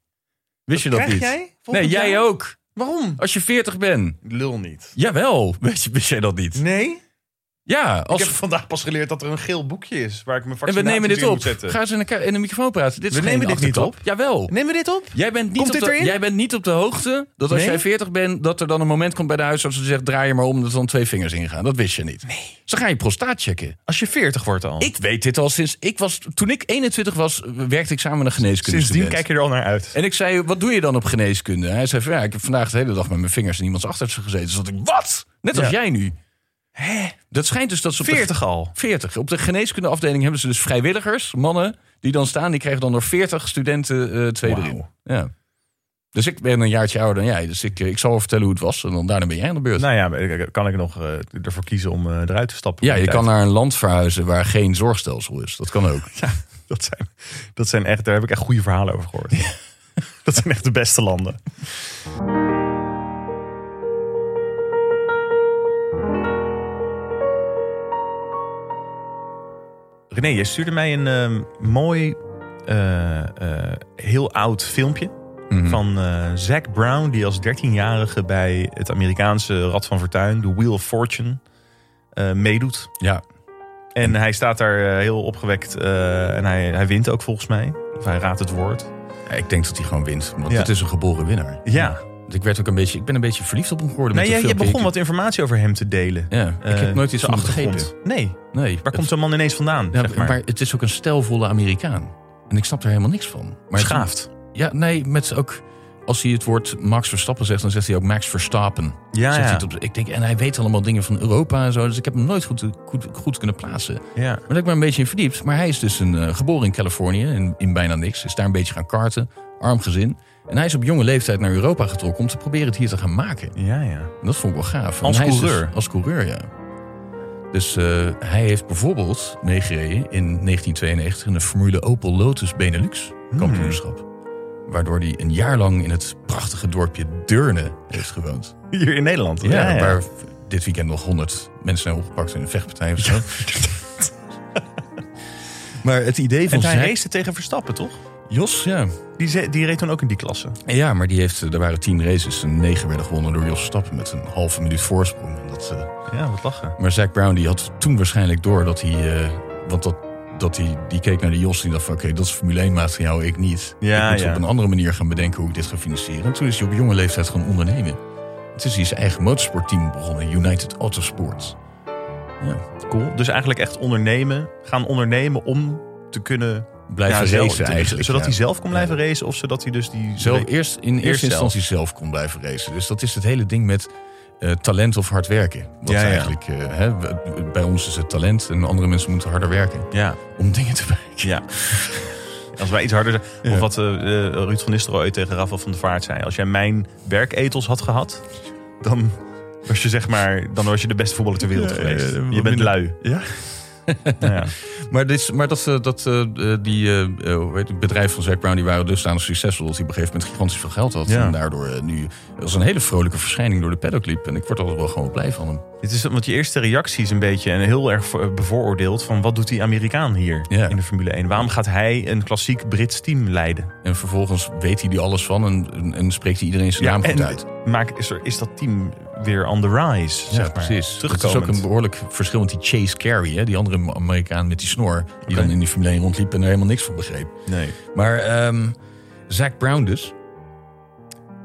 [SPEAKER 2] Wist je dat
[SPEAKER 1] krijg
[SPEAKER 2] niet?
[SPEAKER 1] jij?
[SPEAKER 2] Nee,
[SPEAKER 1] Volgend
[SPEAKER 2] jij
[SPEAKER 1] jaar?
[SPEAKER 2] ook.
[SPEAKER 1] Waarom?
[SPEAKER 2] Als je 40 bent.
[SPEAKER 1] Lul niet.
[SPEAKER 2] Jawel. [laughs] Wist, je- wist jij dat niet?
[SPEAKER 1] Nee?
[SPEAKER 2] Ja,
[SPEAKER 1] Ik
[SPEAKER 2] als...
[SPEAKER 1] heb vandaag pas geleerd dat er een geel boekje is... waar ik mijn
[SPEAKER 2] en we
[SPEAKER 1] vaccinaties
[SPEAKER 2] nemen dit
[SPEAKER 1] in
[SPEAKER 2] op.
[SPEAKER 1] moet zetten.
[SPEAKER 2] Ga eens in de, ka- in de microfoon praten. Dit is
[SPEAKER 1] We
[SPEAKER 2] geen
[SPEAKER 1] nemen dit niet
[SPEAKER 2] achterklap. Jawel.
[SPEAKER 1] Nemen we dit op?
[SPEAKER 2] Jij bent, niet
[SPEAKER 1] Komt
[SPEAKER 2] op
[SPEAKER 1] dit
[SPEAKER 2] de,
[SPEAKER 1] erin?
[SPEAKER 2] jij bent niet op de hoogte dat als
[SPEAKER 1] Nee?
[SPEAKER 2] jij 40 bent, dat er dan een moment komt bij de huisarts die zegt: draai je maar om, dat er dan twee vingers ingaan. Dat wist je niet. Nee. Ze gaan je prostaat checken.
[SPEAKER 1] Als je 40 wordt al.
[SPEAKER 2] Ik weet dit al sinds ik was. Toen ik 21 was, werkte ik samen met een geneeskunde.
[SPEAKER 1] Sindsdien kijk je er al naar uit.
[SPEAKER 2] En ik zei: Wat doe je dan op geneeskunde? Hij zei: van, Ja, ik heb vandaag de hele dag met mijn vingers in iemands achterste gezeten. Dus dat ik: Wat? Net als
[SPEAKER 1] Ja.
[SPEAKER 2] jij nu. Hè? Dat schijnt dus dat ze. op de-
[SPEAKER 1] 40 al.
[SPEAKER 2] 40. Op de geneeskundeafdeling hebben ze dus vrijwilligers, mannen, die dan staan. Die krijgen dan door 40 studenten eh twee
[SPEAKER 1] Wauw.
[SPEAKER 2] erin. Ja. Dus ik ben een jaartje ouder dan jij. Dus ik, eh, ik zal wel vertellen hoe het was. En dan daarna ben jij aan de beurt.
[SPEAKER 1] Nou ja, maar ik- kan ik nog eh, ervoor kiezen om eh, eruit te stappen?
[SPEAKER 2] ja, je
[SPEAKER 1] Tijd.
[SPEAKER 2] kan naar een land verhuizen waar geen zorgstelsel is. Dat [laughs] kan ook.
[SPEAKER 1] Ja, [laughs] dat zijn, dat zijn echt, daar heb ik echt goede verhalen over gehoord. [laughs] Dat zijn echt de beste landen. René, je stuurde mij een ehm, mooi, eh, eh, heel oud filmpje. Van eh Zac Brown, die als 13-jarige bij het Amerikaanse Rad van Fortuin, de Wheel of Fortune, eh, meedoet.
[SPEAKER 2] Ja.
[SPEAKER 1] En hij staat daar eh, heel opgewekt eh, en hij, hij wint ook volgens mij. Of hij raadt het woord.
[SPEAKER 2] Ja, Ik denk dat hij gewoon wint. Want
[SPEAKER 1] Ja.
[SPEAKER 2] het is een geboren winnaar.
[SPEAKER 1] Ja.
[SPEAKER 2] Want Ik, werd ook een beetje, ik ben een beetje verliefd op hem geworden.
[SPEAKER 1] Nee,
[SPEAKER 2] met
[SPEAKER 1] jij,
[SPEAKER 2] de
[SPEAKER 1] jij
[SPEAKER 2] filmpje.
[SPEAKER 1] begon wat informatie over hem te delen.
[SPEAKER 2] Ik- Ja, ik
[SPEAKER 1] Eh,
[SPEAKER 2] heb nooit iets
[SPEAKER 1] zijn
[SPEAKER 2] van hem begrepen.
[SPEAKER 1] achtergrond. Nee.
[SPEAKER 2] Nee,
[SPEAKER 1] Waar
[SPEAKER 2] het-
[SPEAKER 1] komt zo'n man ineens vandaan?
[SPEAKER 2] ja,
[SPEAKER 1] zeg maar.
[SPEAKER 2] maar het is ook een stijlvolle Amerikaan. En ik snap er helemaal niks van. Maar
[SPEAKER 1] Schaafd.
[SPEAKER 2] Ja, nee, met ook als hij het woord Max Verstappen zegt, dan zegt hij ook Max Verstappen.
[SPEAKER 1] Ja,
[SPEAKER 2] Zegt
[SPEAKER 1] ja.
[SPEAKER 2] hij het op de- ik denk, en hij weet allemaal dingen van Europa en zo. Dus ik heb hem nooit goed, goed, goed kunnen plaatsen.
[SPEAKER 1] Ja.
[SPEAKER 2] Maar dat ik me een beetje in verdiept. Maar hij is dus een, eh, geboren in Californië, in, in bijna niks. Is daar een beetje gaan karten, arm gezin. En hij is op jonge leeftijd naar Europa getrokken om te proberen het hier te gaan maken.
[SPEAKER 1] ja, ja.
[SPEAKER 2] En dat vond ik wel gaaf.
[SPEAKER 1] Als
[SPEAKER 2] En hij is dus-
[SPEAKER 1] coureur?
[SPEAKER 2] als coureur, ja. Dus eh, hij heeft bijvoorbeeld meegereden in 1992 in de Formule Opel Lotus Benelux kampioenschap. Waardoor hij een jaar lang in het prachtige dorpje Deurne heeft gewoond.
[SPEAKER 1] [laughs] Hier in Nederland. Ja, ja.
[SPEAKER 2] Waar v- dit weekend nog 100 mensen zijn opgepakt in een vechtpartij of zo. [laughs] maar het idee van
[SPEAKER 1] En hij
[SPEAKER 2] Zack-
[SPEAKER 1] race tegen Verstappen, toch?
[SPEAKER 2] Jos, ja.
[SPEAKER 1] Die, ze- die reed toen ook in die klasse.
[SPEAKER 2] Ja, maar die heeft, eh, er waren tien races en negen werden gewonnen door Jos Stappen met een halve minuut voorsprong. En dat, eh,
[SPEAKER 1] Ja, wat lachen.
[SPEAKER 2] Maar Zack Brown die had toen waarschijnlijk door dat hij. eh, want dat, dat hij die keek naar de Jos en die dacht: van, oké, dat is Formule 1 materiaal, ik niet.
[SPEAKER 1] Ja,
[SPEAKER 2] ik moet
[SPEAKER 1] ja.
[SPEAKER 2] op een andere manier gaan bedenken hoe ik dit ga financieren. En toen is hij op jonge leeftijd gaan ondernemen. En toen is hij zijn eigen motorsportteam begonnen, United Autosport. Ja,
[SPEAKER 1] Cool. Dus eigenlijk echt ondernemen. Gaan ondernemen om te kunnen...
[SPEAKER 2] Blijven
[SPEAKER 1] zelf-
[SPEAKER 2] racen
[SPEAKER 1] te-
[SPEAKER 2] eigenlijk,
[SPEAKER 1] Zodat
[SPEAKER 2] ja.
[SPEAKER 1] hij zelf kon blijven racen of zodat hij dus die...
[SPEAKER 2] zelf, eerst in
[SPEAKER 1] Eerst
[SPEAKER 2] eerste
[SPEAKER 1] zelf.
[SPEAKER 2] instantie zelf kon blijven racen. Dus dat is het hele ding met eh, talent of hard werken. Wat
[SPEAKER 1] Ja, ja.
[SPEAKER 2] eigenlijk, eh, hè, w- w- bij ons is het talent en andere mensen moeten harder werken
[SPEAKER 1] Ja,
[SPEAKER 2] om dingen te [laughs] bereiken.
[SPEAKER 1] ja. Als wij iets harder zijn. Of wat eh, eh, Ruud van Nistelrooy tegen Rafael van der Vaart zei. Als jij mijn werketels had gehad, dan was je zeg maar... Dan was je de beste voetballer ter wereld
[SPEAKER 2] Ja,
[SPEAKER 1] geweest.
[SPEAKER 2] ja, ja,
[SPEAKER 1] je
[SPEAKER 2] wat
[SPEAKER 1] bent
[SPEAKER 2] [laughs] minder-
[SPEAKER 1] lui.
[SPEAKER 2] Nou Ja. maar, dit, is- maar dat, eh, dat eh, die eh, eh, hoe heet het bedrijf van Zack Brown, die waren dusdanig succesvol dat hij op een gegeven moment gigantisch veel geld had.
[SPEAKER 1] Ja.
[SPEAKER 2] En daardoor eh, nu als een hele vrolijke verschijning door de paddock liep. En ik word altijd wel gewoon blij van hem.
[SPEAKER 1] Dit is, want je eerste reactie is een beetje en heel erg voor- bevooroordeeld van wat doet die Amerikaan hier in de Formule 1? Waarom gaat hij een klassiek Brits team leiden?
[SPEAKER 2] En vervolgens weet hij die alles van en, en, en spreekt hij iedereen zijn naam goed
[SPEAKER 1] en
[SPEAKER 2] uit.
[SPEAKER 1] Maak, is, er, is dat team weer on the rise? zeg
[SPEAKER 2] Ja,
[SPEAKER 1] maar.
[SPEAKER 2] precies. Het is
[SPEAKER 1] Terugkomend.
[SPEAKER 2] ook een behoorlijk verschil met die Chase Carey, hè? die andere Amerikaan met die snor. Die dan in die Formule 1 rondliep en er helemaal niks van begreep.
[SPEAKER 1] Nee.
[SPEAKER 2] Maar ehm Zack Brown dus.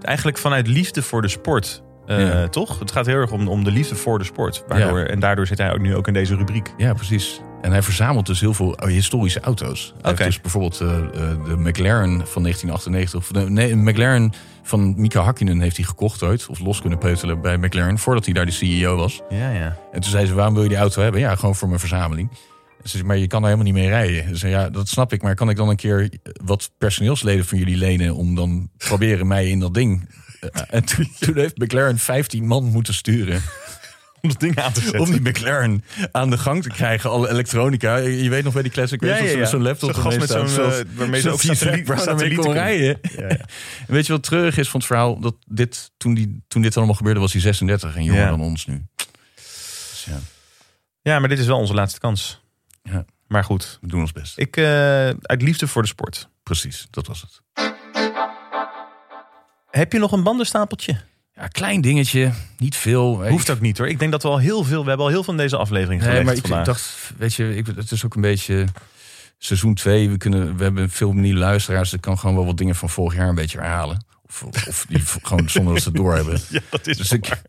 [SPEAKER 1] Eigenlijk vanuit liefde voor de sport, eh,
[SPEAKER 2] Ja.
[SPEAKER 1] toch? Het gaat heel erg om, om de liefde voor de sport. Waardoor,
[SPEAKER 2] Ja.
[SPEAKER 1] En daardoor zit hij ook nu ook in deze rubriek.
[SPEAKER 2] Ja, precies. En hij verzamelt dus heel veel historische auto's. Hij heeft
[SPEAKER 1] Oké.
[SPEAKER 2] dus bijvoorbeeld eh, eh, de McLaren van 1998. Of de, nee, een McLaren van Mika Hakkinen heeft hij gekocht ooit. Of los kunnen peutelen bij McLaren. Voordat hij daar de CEO was.
[SPEAKER 1] Ja, ja.
[SPEAKER 2] En toen zei ze, waarom wil je die auto hebben? Ja, gewoon voor mijn verzameling. En ze zei, maar je kan daar helemaal niet mee rijden. Ze zei, ja, dat snap ik. Maar kan ik dan een keer wat personeelsleden van jullie lenen... om dan proberen mij in dat ding... Eh, en toen, toen heeft McLaren 15 man moeten sturen...
[SPEAKER 1] Om dat ding aan te zetten.
[SPEAKER 2] Om die McLaren aan de gang te krijgen. Alle elektronica. Je weet nog bij die classic race.
[SPEAKER 1] Ja,
[SPEAKER 2] of
[SPEAKER 1] ja,
[SPEAKER 2] zo-
[SPEAKER 1] ja.
[SPEAKER 2] zo'n laptop.
[SPEAKER 1] Zo'n gast
[SPEAKER 2] ermee
[SPEAKER 1] met zo'n,
[SPEAKER 2] staat,
[SPEAKER 1] eh,
[SPEAKER 2] zodat-
[SPEAKER 1] waarmee ze
[SPEAKER 2] zodat
[SPEAKER 1] ook
[SPEAKER 2] die
[SPEAKER 1] satelliet-
[SPEAKER 2] Zac Brown ermee
[SPEAKER 1] satellieten
[SPEAKER 2] kon
[SPEAKER 1] kunnen.
[SPEAKER 2] rijden. En [laughs] weet je wat treurig is van het verhaal? Dat dit, toen, die, toen dit allemaal gebeurde was hij 36. En jonger
[SPEAKER 1] Ja.
[SPEAKER 2] dan ons nu. Dus ja,
[SPEAKER 1] Ja, maar dit is wel onze laatste kans.
[SPEAKER 2] Ja.
[SPEAKER 1] Maar goed.
[SPEAKER 2] we doen ons best.
[SPEAKER 1] Ik, eh, uit liefde voor de sport.
[SPEAKER 2] Precies, dat was het.
[SPEAKER 1] Heb je nog een bandenstapeltje?
[SPEAKER 2] Ja, klein dingetje. Niet veel.
[SPEAKER 1] Hoeft ook niet hoor. Ik denk dat we al heel veel, we hebben al heel veel in deze aflevering gelegd
[SPEAKER 2] Nee, maar ik
[SPEAKER 1] vandaag.
[SPEAKER 2] dacht, weet je, ik, het is ook een beetje seizoen 2. We, kunnen, we hebben veel nieuwe luisteraars. Ik kan gewoon wel wat dingen van vorig jaar een beetje herhalen. Of, of die [laughs] v- gewoon zonder dat ze het doorhebben.
[SPEAKER 1] Ja, dat is
[SPEAKER 2] dus ik,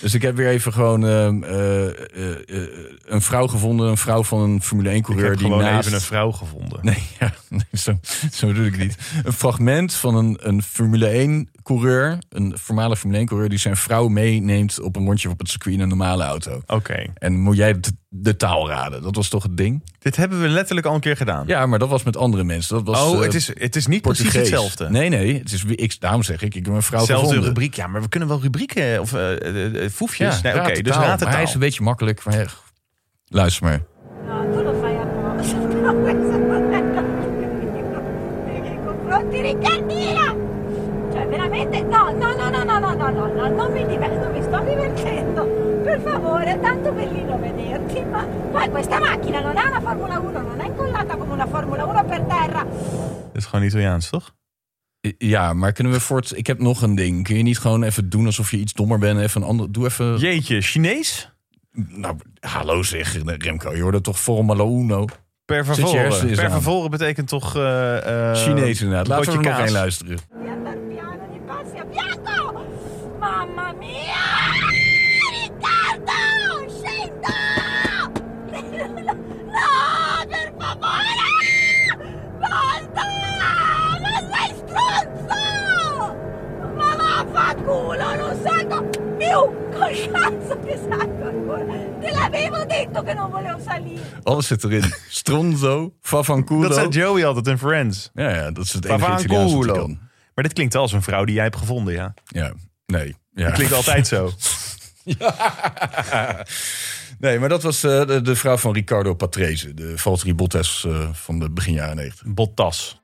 [SPEAKER 2] dus ik heb weer even gewoon ehm, eh, eh, eh, een vrouw gevonden. Een vrouw van een Formule 1
[SPEAKER 1] Ik
[SPEAKER 2] coureur.
[SPEAKER 1] heb
[SPEAKER 2] die
[SPEAKER 1] gewoon
[SPEAKER 2] naast,
[SPEAKER 1] even een vrouw gevonden.
[SPEAKER 2] Nee, [laughs] ja, nee, zo, zo bedoel ik niet. Een fragment van een, een Formule 1 coureur. Een voormalig Formule 1 coureur die zijn vrouw meeneemt op een rondje op het circuit in een normale auto.
[SPEAKER 1] Oké.
[SPEAKER 2] En moet jij de, de taal raden? Dat was toch het ding?
[SPEAKER 1] Dit hebben we letterlijk al een keer gedaan.
[SPEAKER 2] Ja, maar dat was met andere mensen. Dat was,
[SPEAKER 1] oh,
[SPEAKER 2] eh,
[SPEAKER 1] het, is, het is niet
[SPEAKER 2] Portugees.
[SPEAKER 1] precies hetzelfde.
[SPEAKER 2] Nee, nee. Het is, ik, daarom zeg ik, ik heb een vrouw
[SPEAKER 1] Zelfde
[SPEAKER 2] gevonden.
[SPEAKER 1] rubriek. Ja, maar we kunnen wel rubrieken of eh, eh, eh,
[SPEAKER 2] Ja,
[SPEAKER 1] foefjes. nee,
[SPEAKER 2] raad
[SPEAKER 1] Oké,
[SPEAKER 2] de
[SPEAKER 1] dus
[SPEAKER 2] taal.
[SPEAKER 1] raad de
[SPEAKER 2] Maar Hij
[SPEAKER 1] taal.
[SPEAKER 2] is een beetje makkelijk. Maar ja, luister maar.
[SPEAKER 13] [laughs] confronti Riccardina! Cioè, veramente, no, no, no, no, no, no, no, no, no, non mi diverto, non mi sto divertendo. Per favore, tanto bellino vederti, ma poi questa macchina non è una Formula 1, non è incollata come una Formula 1 per terra.
[SPEAKER 1] Dat is gewoon Italiaans, toch?
[SPEAKER 2] Ja, maar kunnen we voort... Ik heb nog een ding. Kun je niet gewoon even doen alsof je iets dommer bent? Even een ander... Doe even...
[SPEAKER 1] Jeetje, Chinees?
[SPEAKER 2] Nou, hallo zeg, Remco. Je hoorde toch Formula Uno?
[SPEAKER 1] Per
[SPEAKER 2] Zet je hersenen
[SPEAKER 1] vervoren.
[SPEAKER 2] eens
[SPEAKER 1] Per
[SPEAKER 2] aan.
[SPEAKER 1] vervoren betekent toch... eh, eh,
[SPEAKER 2] Chinees
[SPEAKER 1] een
[SPEAKER 2] inderdaad. Laten we er
[SPEAKER 1] potje
[SPEAKER 2] nog
[SPEAKER 1] kaas.
[SPEAKER 2] één luisteren.
[SPEAKER 13] Di andar piano, di passi a fianco! Mamma mia! Riccardo, scendo! [laughs] No, per favore! Basta! Ma sei stronzo! Ma vaffanculo, non salgo più! Coscienza che salgo ancora! Te l'avevo detto che non volevo salire!
[SPEAKER 2] Alles zit [laughs] erin. Stronzo, Favanculo.
[SPEAKER 1] Dat zei Joey altijd in Friends.
[SPEAKER 2] Ja, ja, dat is het enige Italiaans dat hij
[SPEAKER 1] Favanculo.
[SPEAKER 2] kan.
[SPEAKER 1] Maar dit klinkt wel als een vrouw die jij hebt gevonden, ja.
[SPEAKER 2] Ja, nee. Ja.
[SPEAKER 1] Dat klinkt altijd zo.
[SPEAKER 2] [laughs] Nee, maar dat was eh, de, de vrouw van Ricardo Patrese. De Valtteri Bottas eh, van de begin jaren 90.
[SPEAKER 1] [laughs] Bottas.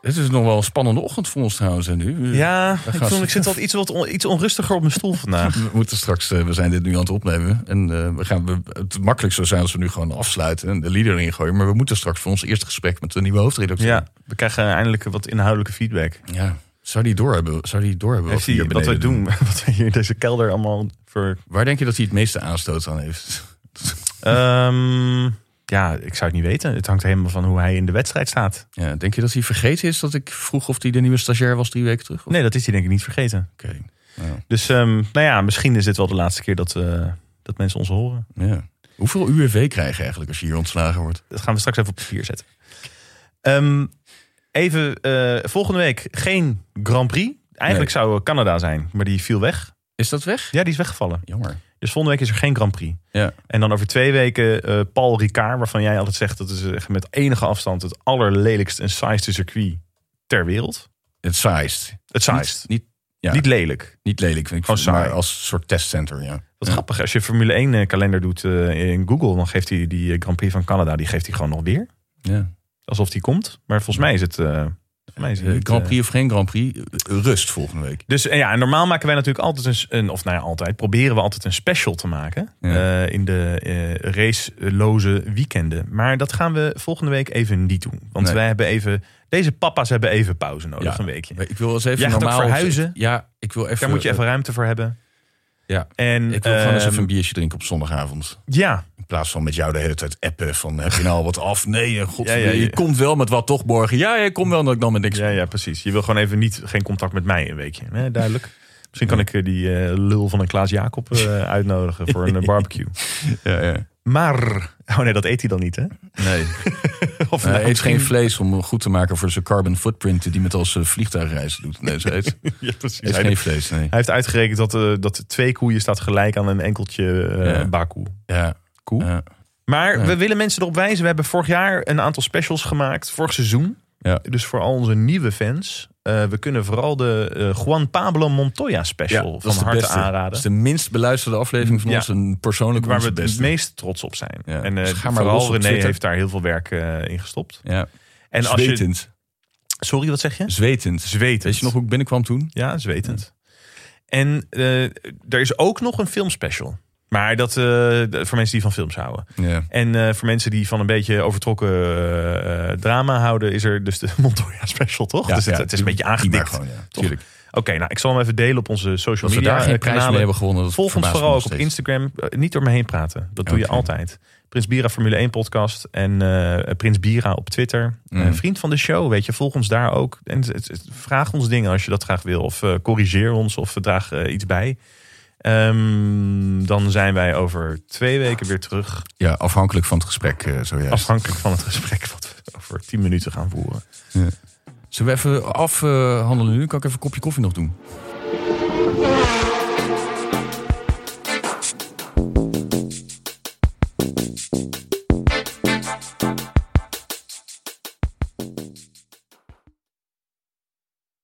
[SPEAKER 2] Het is nog wel een spannende ochtend voor ons trouwens. En nu.
[SPEAKER 1] Ja,
[SPEAKER 2] Daar
[SPEAKER 1] ik,
[SPEAKER 2] gaan
[SPEAKER 1] voel-
[SPEAKER 2] ze.
[SPEAKER 1] ik zit wat iets, wat on- iets onrustiger op mijn stoel vandaag.
[SPEAKER 2] [laughs] We moeten straks, eh, we zijn dit nu aan het opnemen. En eh, we gaan, we, het makkelijk zou zijn als we nu gewoon afsluiten en de leader erin gooien. Maar we moeten straks voor ons eerste gesprek met de nieuwe hoofdredacteur.
[SPEAKER 1] [laughs] Ja, we krijgen eindelijk wat inhoudelijke feedback.
[SPEAKER 2] Ja. Zou die doorhebben? Zou die doorhebben
[SPEAKER 1] Heeft
[SPEAKER 2] wat we
[SPEAKER 1] hij
[SPEAKER 2] hier
[SPEAKER 1] wat wij
[SPEAKER 2] beneden
[SPEAKER 1] doen, [laughs] wat wij hier in deze kelder allemaal voor...
[SPEAKER 2] Waar denk je dat hij het meeste aanstoot aan heeft? [laughs]
[SPEAKER 1] Ehm, ja, ik zou het niet weten. Het hangt helemaal van hoe hij in de wedstrijd staat.
[SPEAKER 2] Ja, denk je dat hij vergeten is dat ik vroeg of hij de nieuwe stagiair was drie weken terug? Of-
[SPEAKER 1] Nee, dat is hij denk ik niet vergeten.
[SPEAKER 2] Oké.
[SPEAKER 1] Dus ehm, nou ja, misschien is dit wel de laatste keer dat, eh, dat mensen ons horen.
[SPEAKER 2] Ja. Hoeveel UWV krijg je eigenlijk als je hier ontslagen wordt?
[SPEAKER 1] Dat gaan we straks even op papier zetten. Ehm, even, eh, volgende week geen Grand Prix. Eigenlijk zou Canada zijn, maar die viel weg.
[SPEAKER 2] Is dat weg?
[SPEAKER 1] Ja, die is weggevallen.
[SPEAKER 2] Jammer.
[SPEAKER 1] Dus volgende week is er geen Grand Prix.
[SPEAKER 2] Ja.
[SPEAKER 1] En dan over twee weken eh, Paul Ricard, waarvan jij altijd zegt dat is echt met enige afstand het allerlelijkste en saaiste circuit ter wereld.
[SPEAKER 2] Het saaist.
[SPEAKER 1] Het saaist.
[SPEAKER 2] Niet,
[SPEAKER 1] Niet lelijk.
[SPEAKER 2] Niet lelijk. Ik
[SPEAKER 1] Gewoon saai.
[SPEAKER 2] als soort testcenter, ja.
[SPEAKER 1] Wat grappig. Als je Formule 1 eh, kalender doet eh, in Google, dan geeft hij die eh, Grand Prix van Canada, die geeft hij gewoon nog weer.
[SPEAKER 2] Ja.
[SPEAKER 1] Alsof die komt. Maar volgens mij is het... eh, volgens mij is het
[SPEAKER 2] Eh,
[SPEAKER 1] niet,
[SPEAKER 2] Grand
[SPEAKER 1] eh,
[SPEAKER 2] Prix of geen Grand Prix, eh, rust volgende week.
[SPEAKER 1] Dus eh, ja, en normaal maken wij natuurlijk altijd een, s- een of nou ja, altijd proberen we altijd een special te maken eh, in de eh raceloze weekenden. Maar dat gaan we volgende week even niet doen, want
[SPEAKER 2] Nee.
[SPEAKER 1] wij hebben even deze papa's hebben even pauze nodig
[SPEAKER 2] Ja.
[SPEAKER 1] een weekje.
[SPEAKER 2] Ik wil eens even
[SPEAKER 1] Jij gaat ook
[SPEAKER 2] normaal...
[SPEAKER 1] verhuizen.
[SPEAKER 2] Ja, ik wil even...
[SPEAKER 1] Daar moet je even
[SPEAKER 2] eh,
[SPEAKER 1] ruimte voor hebben.
[SPEAKER 2] Ja.
[SPEAKER 1] En
[SPEAKER 2] Ik wil gewoon eens
[SPEAKER 1] ehm,
[SPEAKER 2] even een biertje drinken op zondagavond.
[SPEAKER 1] Ja.
[SPEAKER 2] In plaats van met jou de hele tijd appen van heb je nou al wat af? Nee, eh, god,
[SPEAKER 1] Ja, ja, ja.
[SPEAKER 2] je komt wel met wat toch morgen. Ja, ja, ik kom wel dat ik dan met niks.
[SPEAKER 1] Ja, ja, precies. Je wil gewoon even niet, geen contact met mij een weekje. Nee, duidelijk. Misschien kan ik eh, die eh, lul van een Klaas Jacob
[SPEAKER 2] [laughs]
[SPEAKER 1] eh, uitnodigen voor een eh, barbecue.
[SPEAKER 2] Ja, ja.
[SPEAKER 1] Maar, oh nee, dat eet hij dan niet, hè? [laughs]
[SPEAKER 2] [laughs] Nee.
[SPEAKER 1] Of
[SPEAKER 2] Eh, hij
[SPEAKER 1] nou,
[SPEAKER 2] eet
[SPEAKER 1] misschien-
[SPEAKER 2] geen vlees om goed te maken voor zijn carbon footprint die met als eh, vliegtuigreizen doet. Nee, [laughs] ze
[SPEAKER 1] [laughs]
[SPEAKER 2] eet,
[SPEAKER 1] Ja, precies.
[SPEAKER 2] eet
[SPEAKER 1] Hij-
[SPEAKER 2] geen vlees, nee.
[SPEAKER 1] Hij heeft uitgerekend dat, eh, dat twee koeien staat gelijk aan een enkeltje eh
[SPEAKER 2] Ja.
[SPEAKER 1] bakoe.
[SPEAKER 2] Ja. Eh,
[SPEAKER 1] Koe.
[SPEAKER 2] Ja.
[SPEAKER 1] Maar
[SPEAKER 2] Ja.
[SPEAKER 1] we willen mensen erop wijzen. We hebben vorig jaar een aantal specials gemaakt. Vorig seizoen.
[SPEAKER 2] Ja.
[SPEAKER 1] Dus voor al onze nieuwe fans. eh, we kunnen vooral de eh, Juan Pablo Montoya
[SPEAKER 2] Ja,
[SPEAKER 1] special
[SPEAKER 2] dat
[SPEAKER 1] van
[SPEAKER 2] is de
[SPEAKER 1] harte
[SPEAKER 2] beste. Dat
[SPEAKER 1] aanraden.
[SPEAKER 2] is de minst beluisterde aflevering van
[SPEAKER 1] Ja.
[SPEAKER 2] ons. En persoonlijk
[SPEAKER 1] waar we
[SPEAKER 2] onze
[SPEAKER 1] het
[SPEAKER 2] beste.
[SPEAKER 1] meest trots op zijn.
[SPEAKER 2] Ja.
[SPEAKER 1] En eh,
[SPEAKER 2] Dus ga maar los
[SPEAKER 1] vooral
[SPEAKER 2] op
[SPEAKER 1] René
[SPEAKER 2] Twitter.
[SPEAKER 1] heeft daar heel veel werk eh, in gestopt.
[SPEAKER 2] Ja.
[SPEAKER 1] En als je,
[SPEAKER 2] Zwetend.
[SPEAKER 1] sorry, wat zeg je?
[SPEAKER 2] Zwetend.
[SPEAKER 1] Zwetend.
[SPEAKER 2] Weet je nog hoe ik binnenkwam toen?
[SPEAKER 1] Ja, zwetend. En eh, er is ook nog een filmspecial. Maar dat eh, voor mensen die van films houden.
[SPEAKER 2] Ja.
[SPEAKER 1] En eh, voor mensen die van een beetje overtrokken eh, eh, drama houden, is er dus de [laughs] Montoya special, toch?
[SPEAKER 2] Ja,
[SPEAKER 1] dus het,
[SPEAKER 2] ja,
[SPEAKER 1] het is een beetje
[SPEAKER 2] die maar
[SPEAKER 1] aangedikt.
[SPEAKER 2] gewoon, ja.
[SPEAKER 1] toch?
[SPEAKER 2] Tuurlijk.
[SPEAKER 1] Oké, nou, ik zal hem even delen op onze social
[SPEAKER 2] Dat we
[SPEAKER 1] media.
[SPEAKER 2] daar geen
[SPEAKER 1] eh,
[SPEAKER 2] prijs
[SPEAKER 1] kanalen.
[SPEAKER 2] mee hebben gewonnen, dat
[SPEAKER 1] Volg ons
[SPEAKER 2] verbaast me
[SPEAKER 1] vooral ook
[SPEAKER 2] nog
[SPEAKER 1] op
[SPEAKER 2] steeds.
[SPEAKER 1] Instagram. Eh, niet door me heen praten. Dat doe je
[SPEAKER 2] Oké.
[SPEAKER 1] altijd. Prins Bira Formule 1 podcast en eh, Prins Bira op Twitter.
[SPEAKER 2] Mm.
[SPEAKER 1] Eh, vriend van de show, weet je, volg ons daar ook. En het- het- het- vraag ons dingen als je dat graag wil. Of eh, corrigeer ons of draag eh, iets bij. Ehm, dan zijn wij over twee weken weer terug.
[SPEAKER 2] Ja, afhankelijk van het gesprek eh zojuist.
[SPEAKER 1] Afhankelijk van het gesprek wat we over tien minuten gaan voeren.
[SPEAKER 2] eh, Zullen we even afhandelen nu? Kan ik even een kopje koffie nog doen?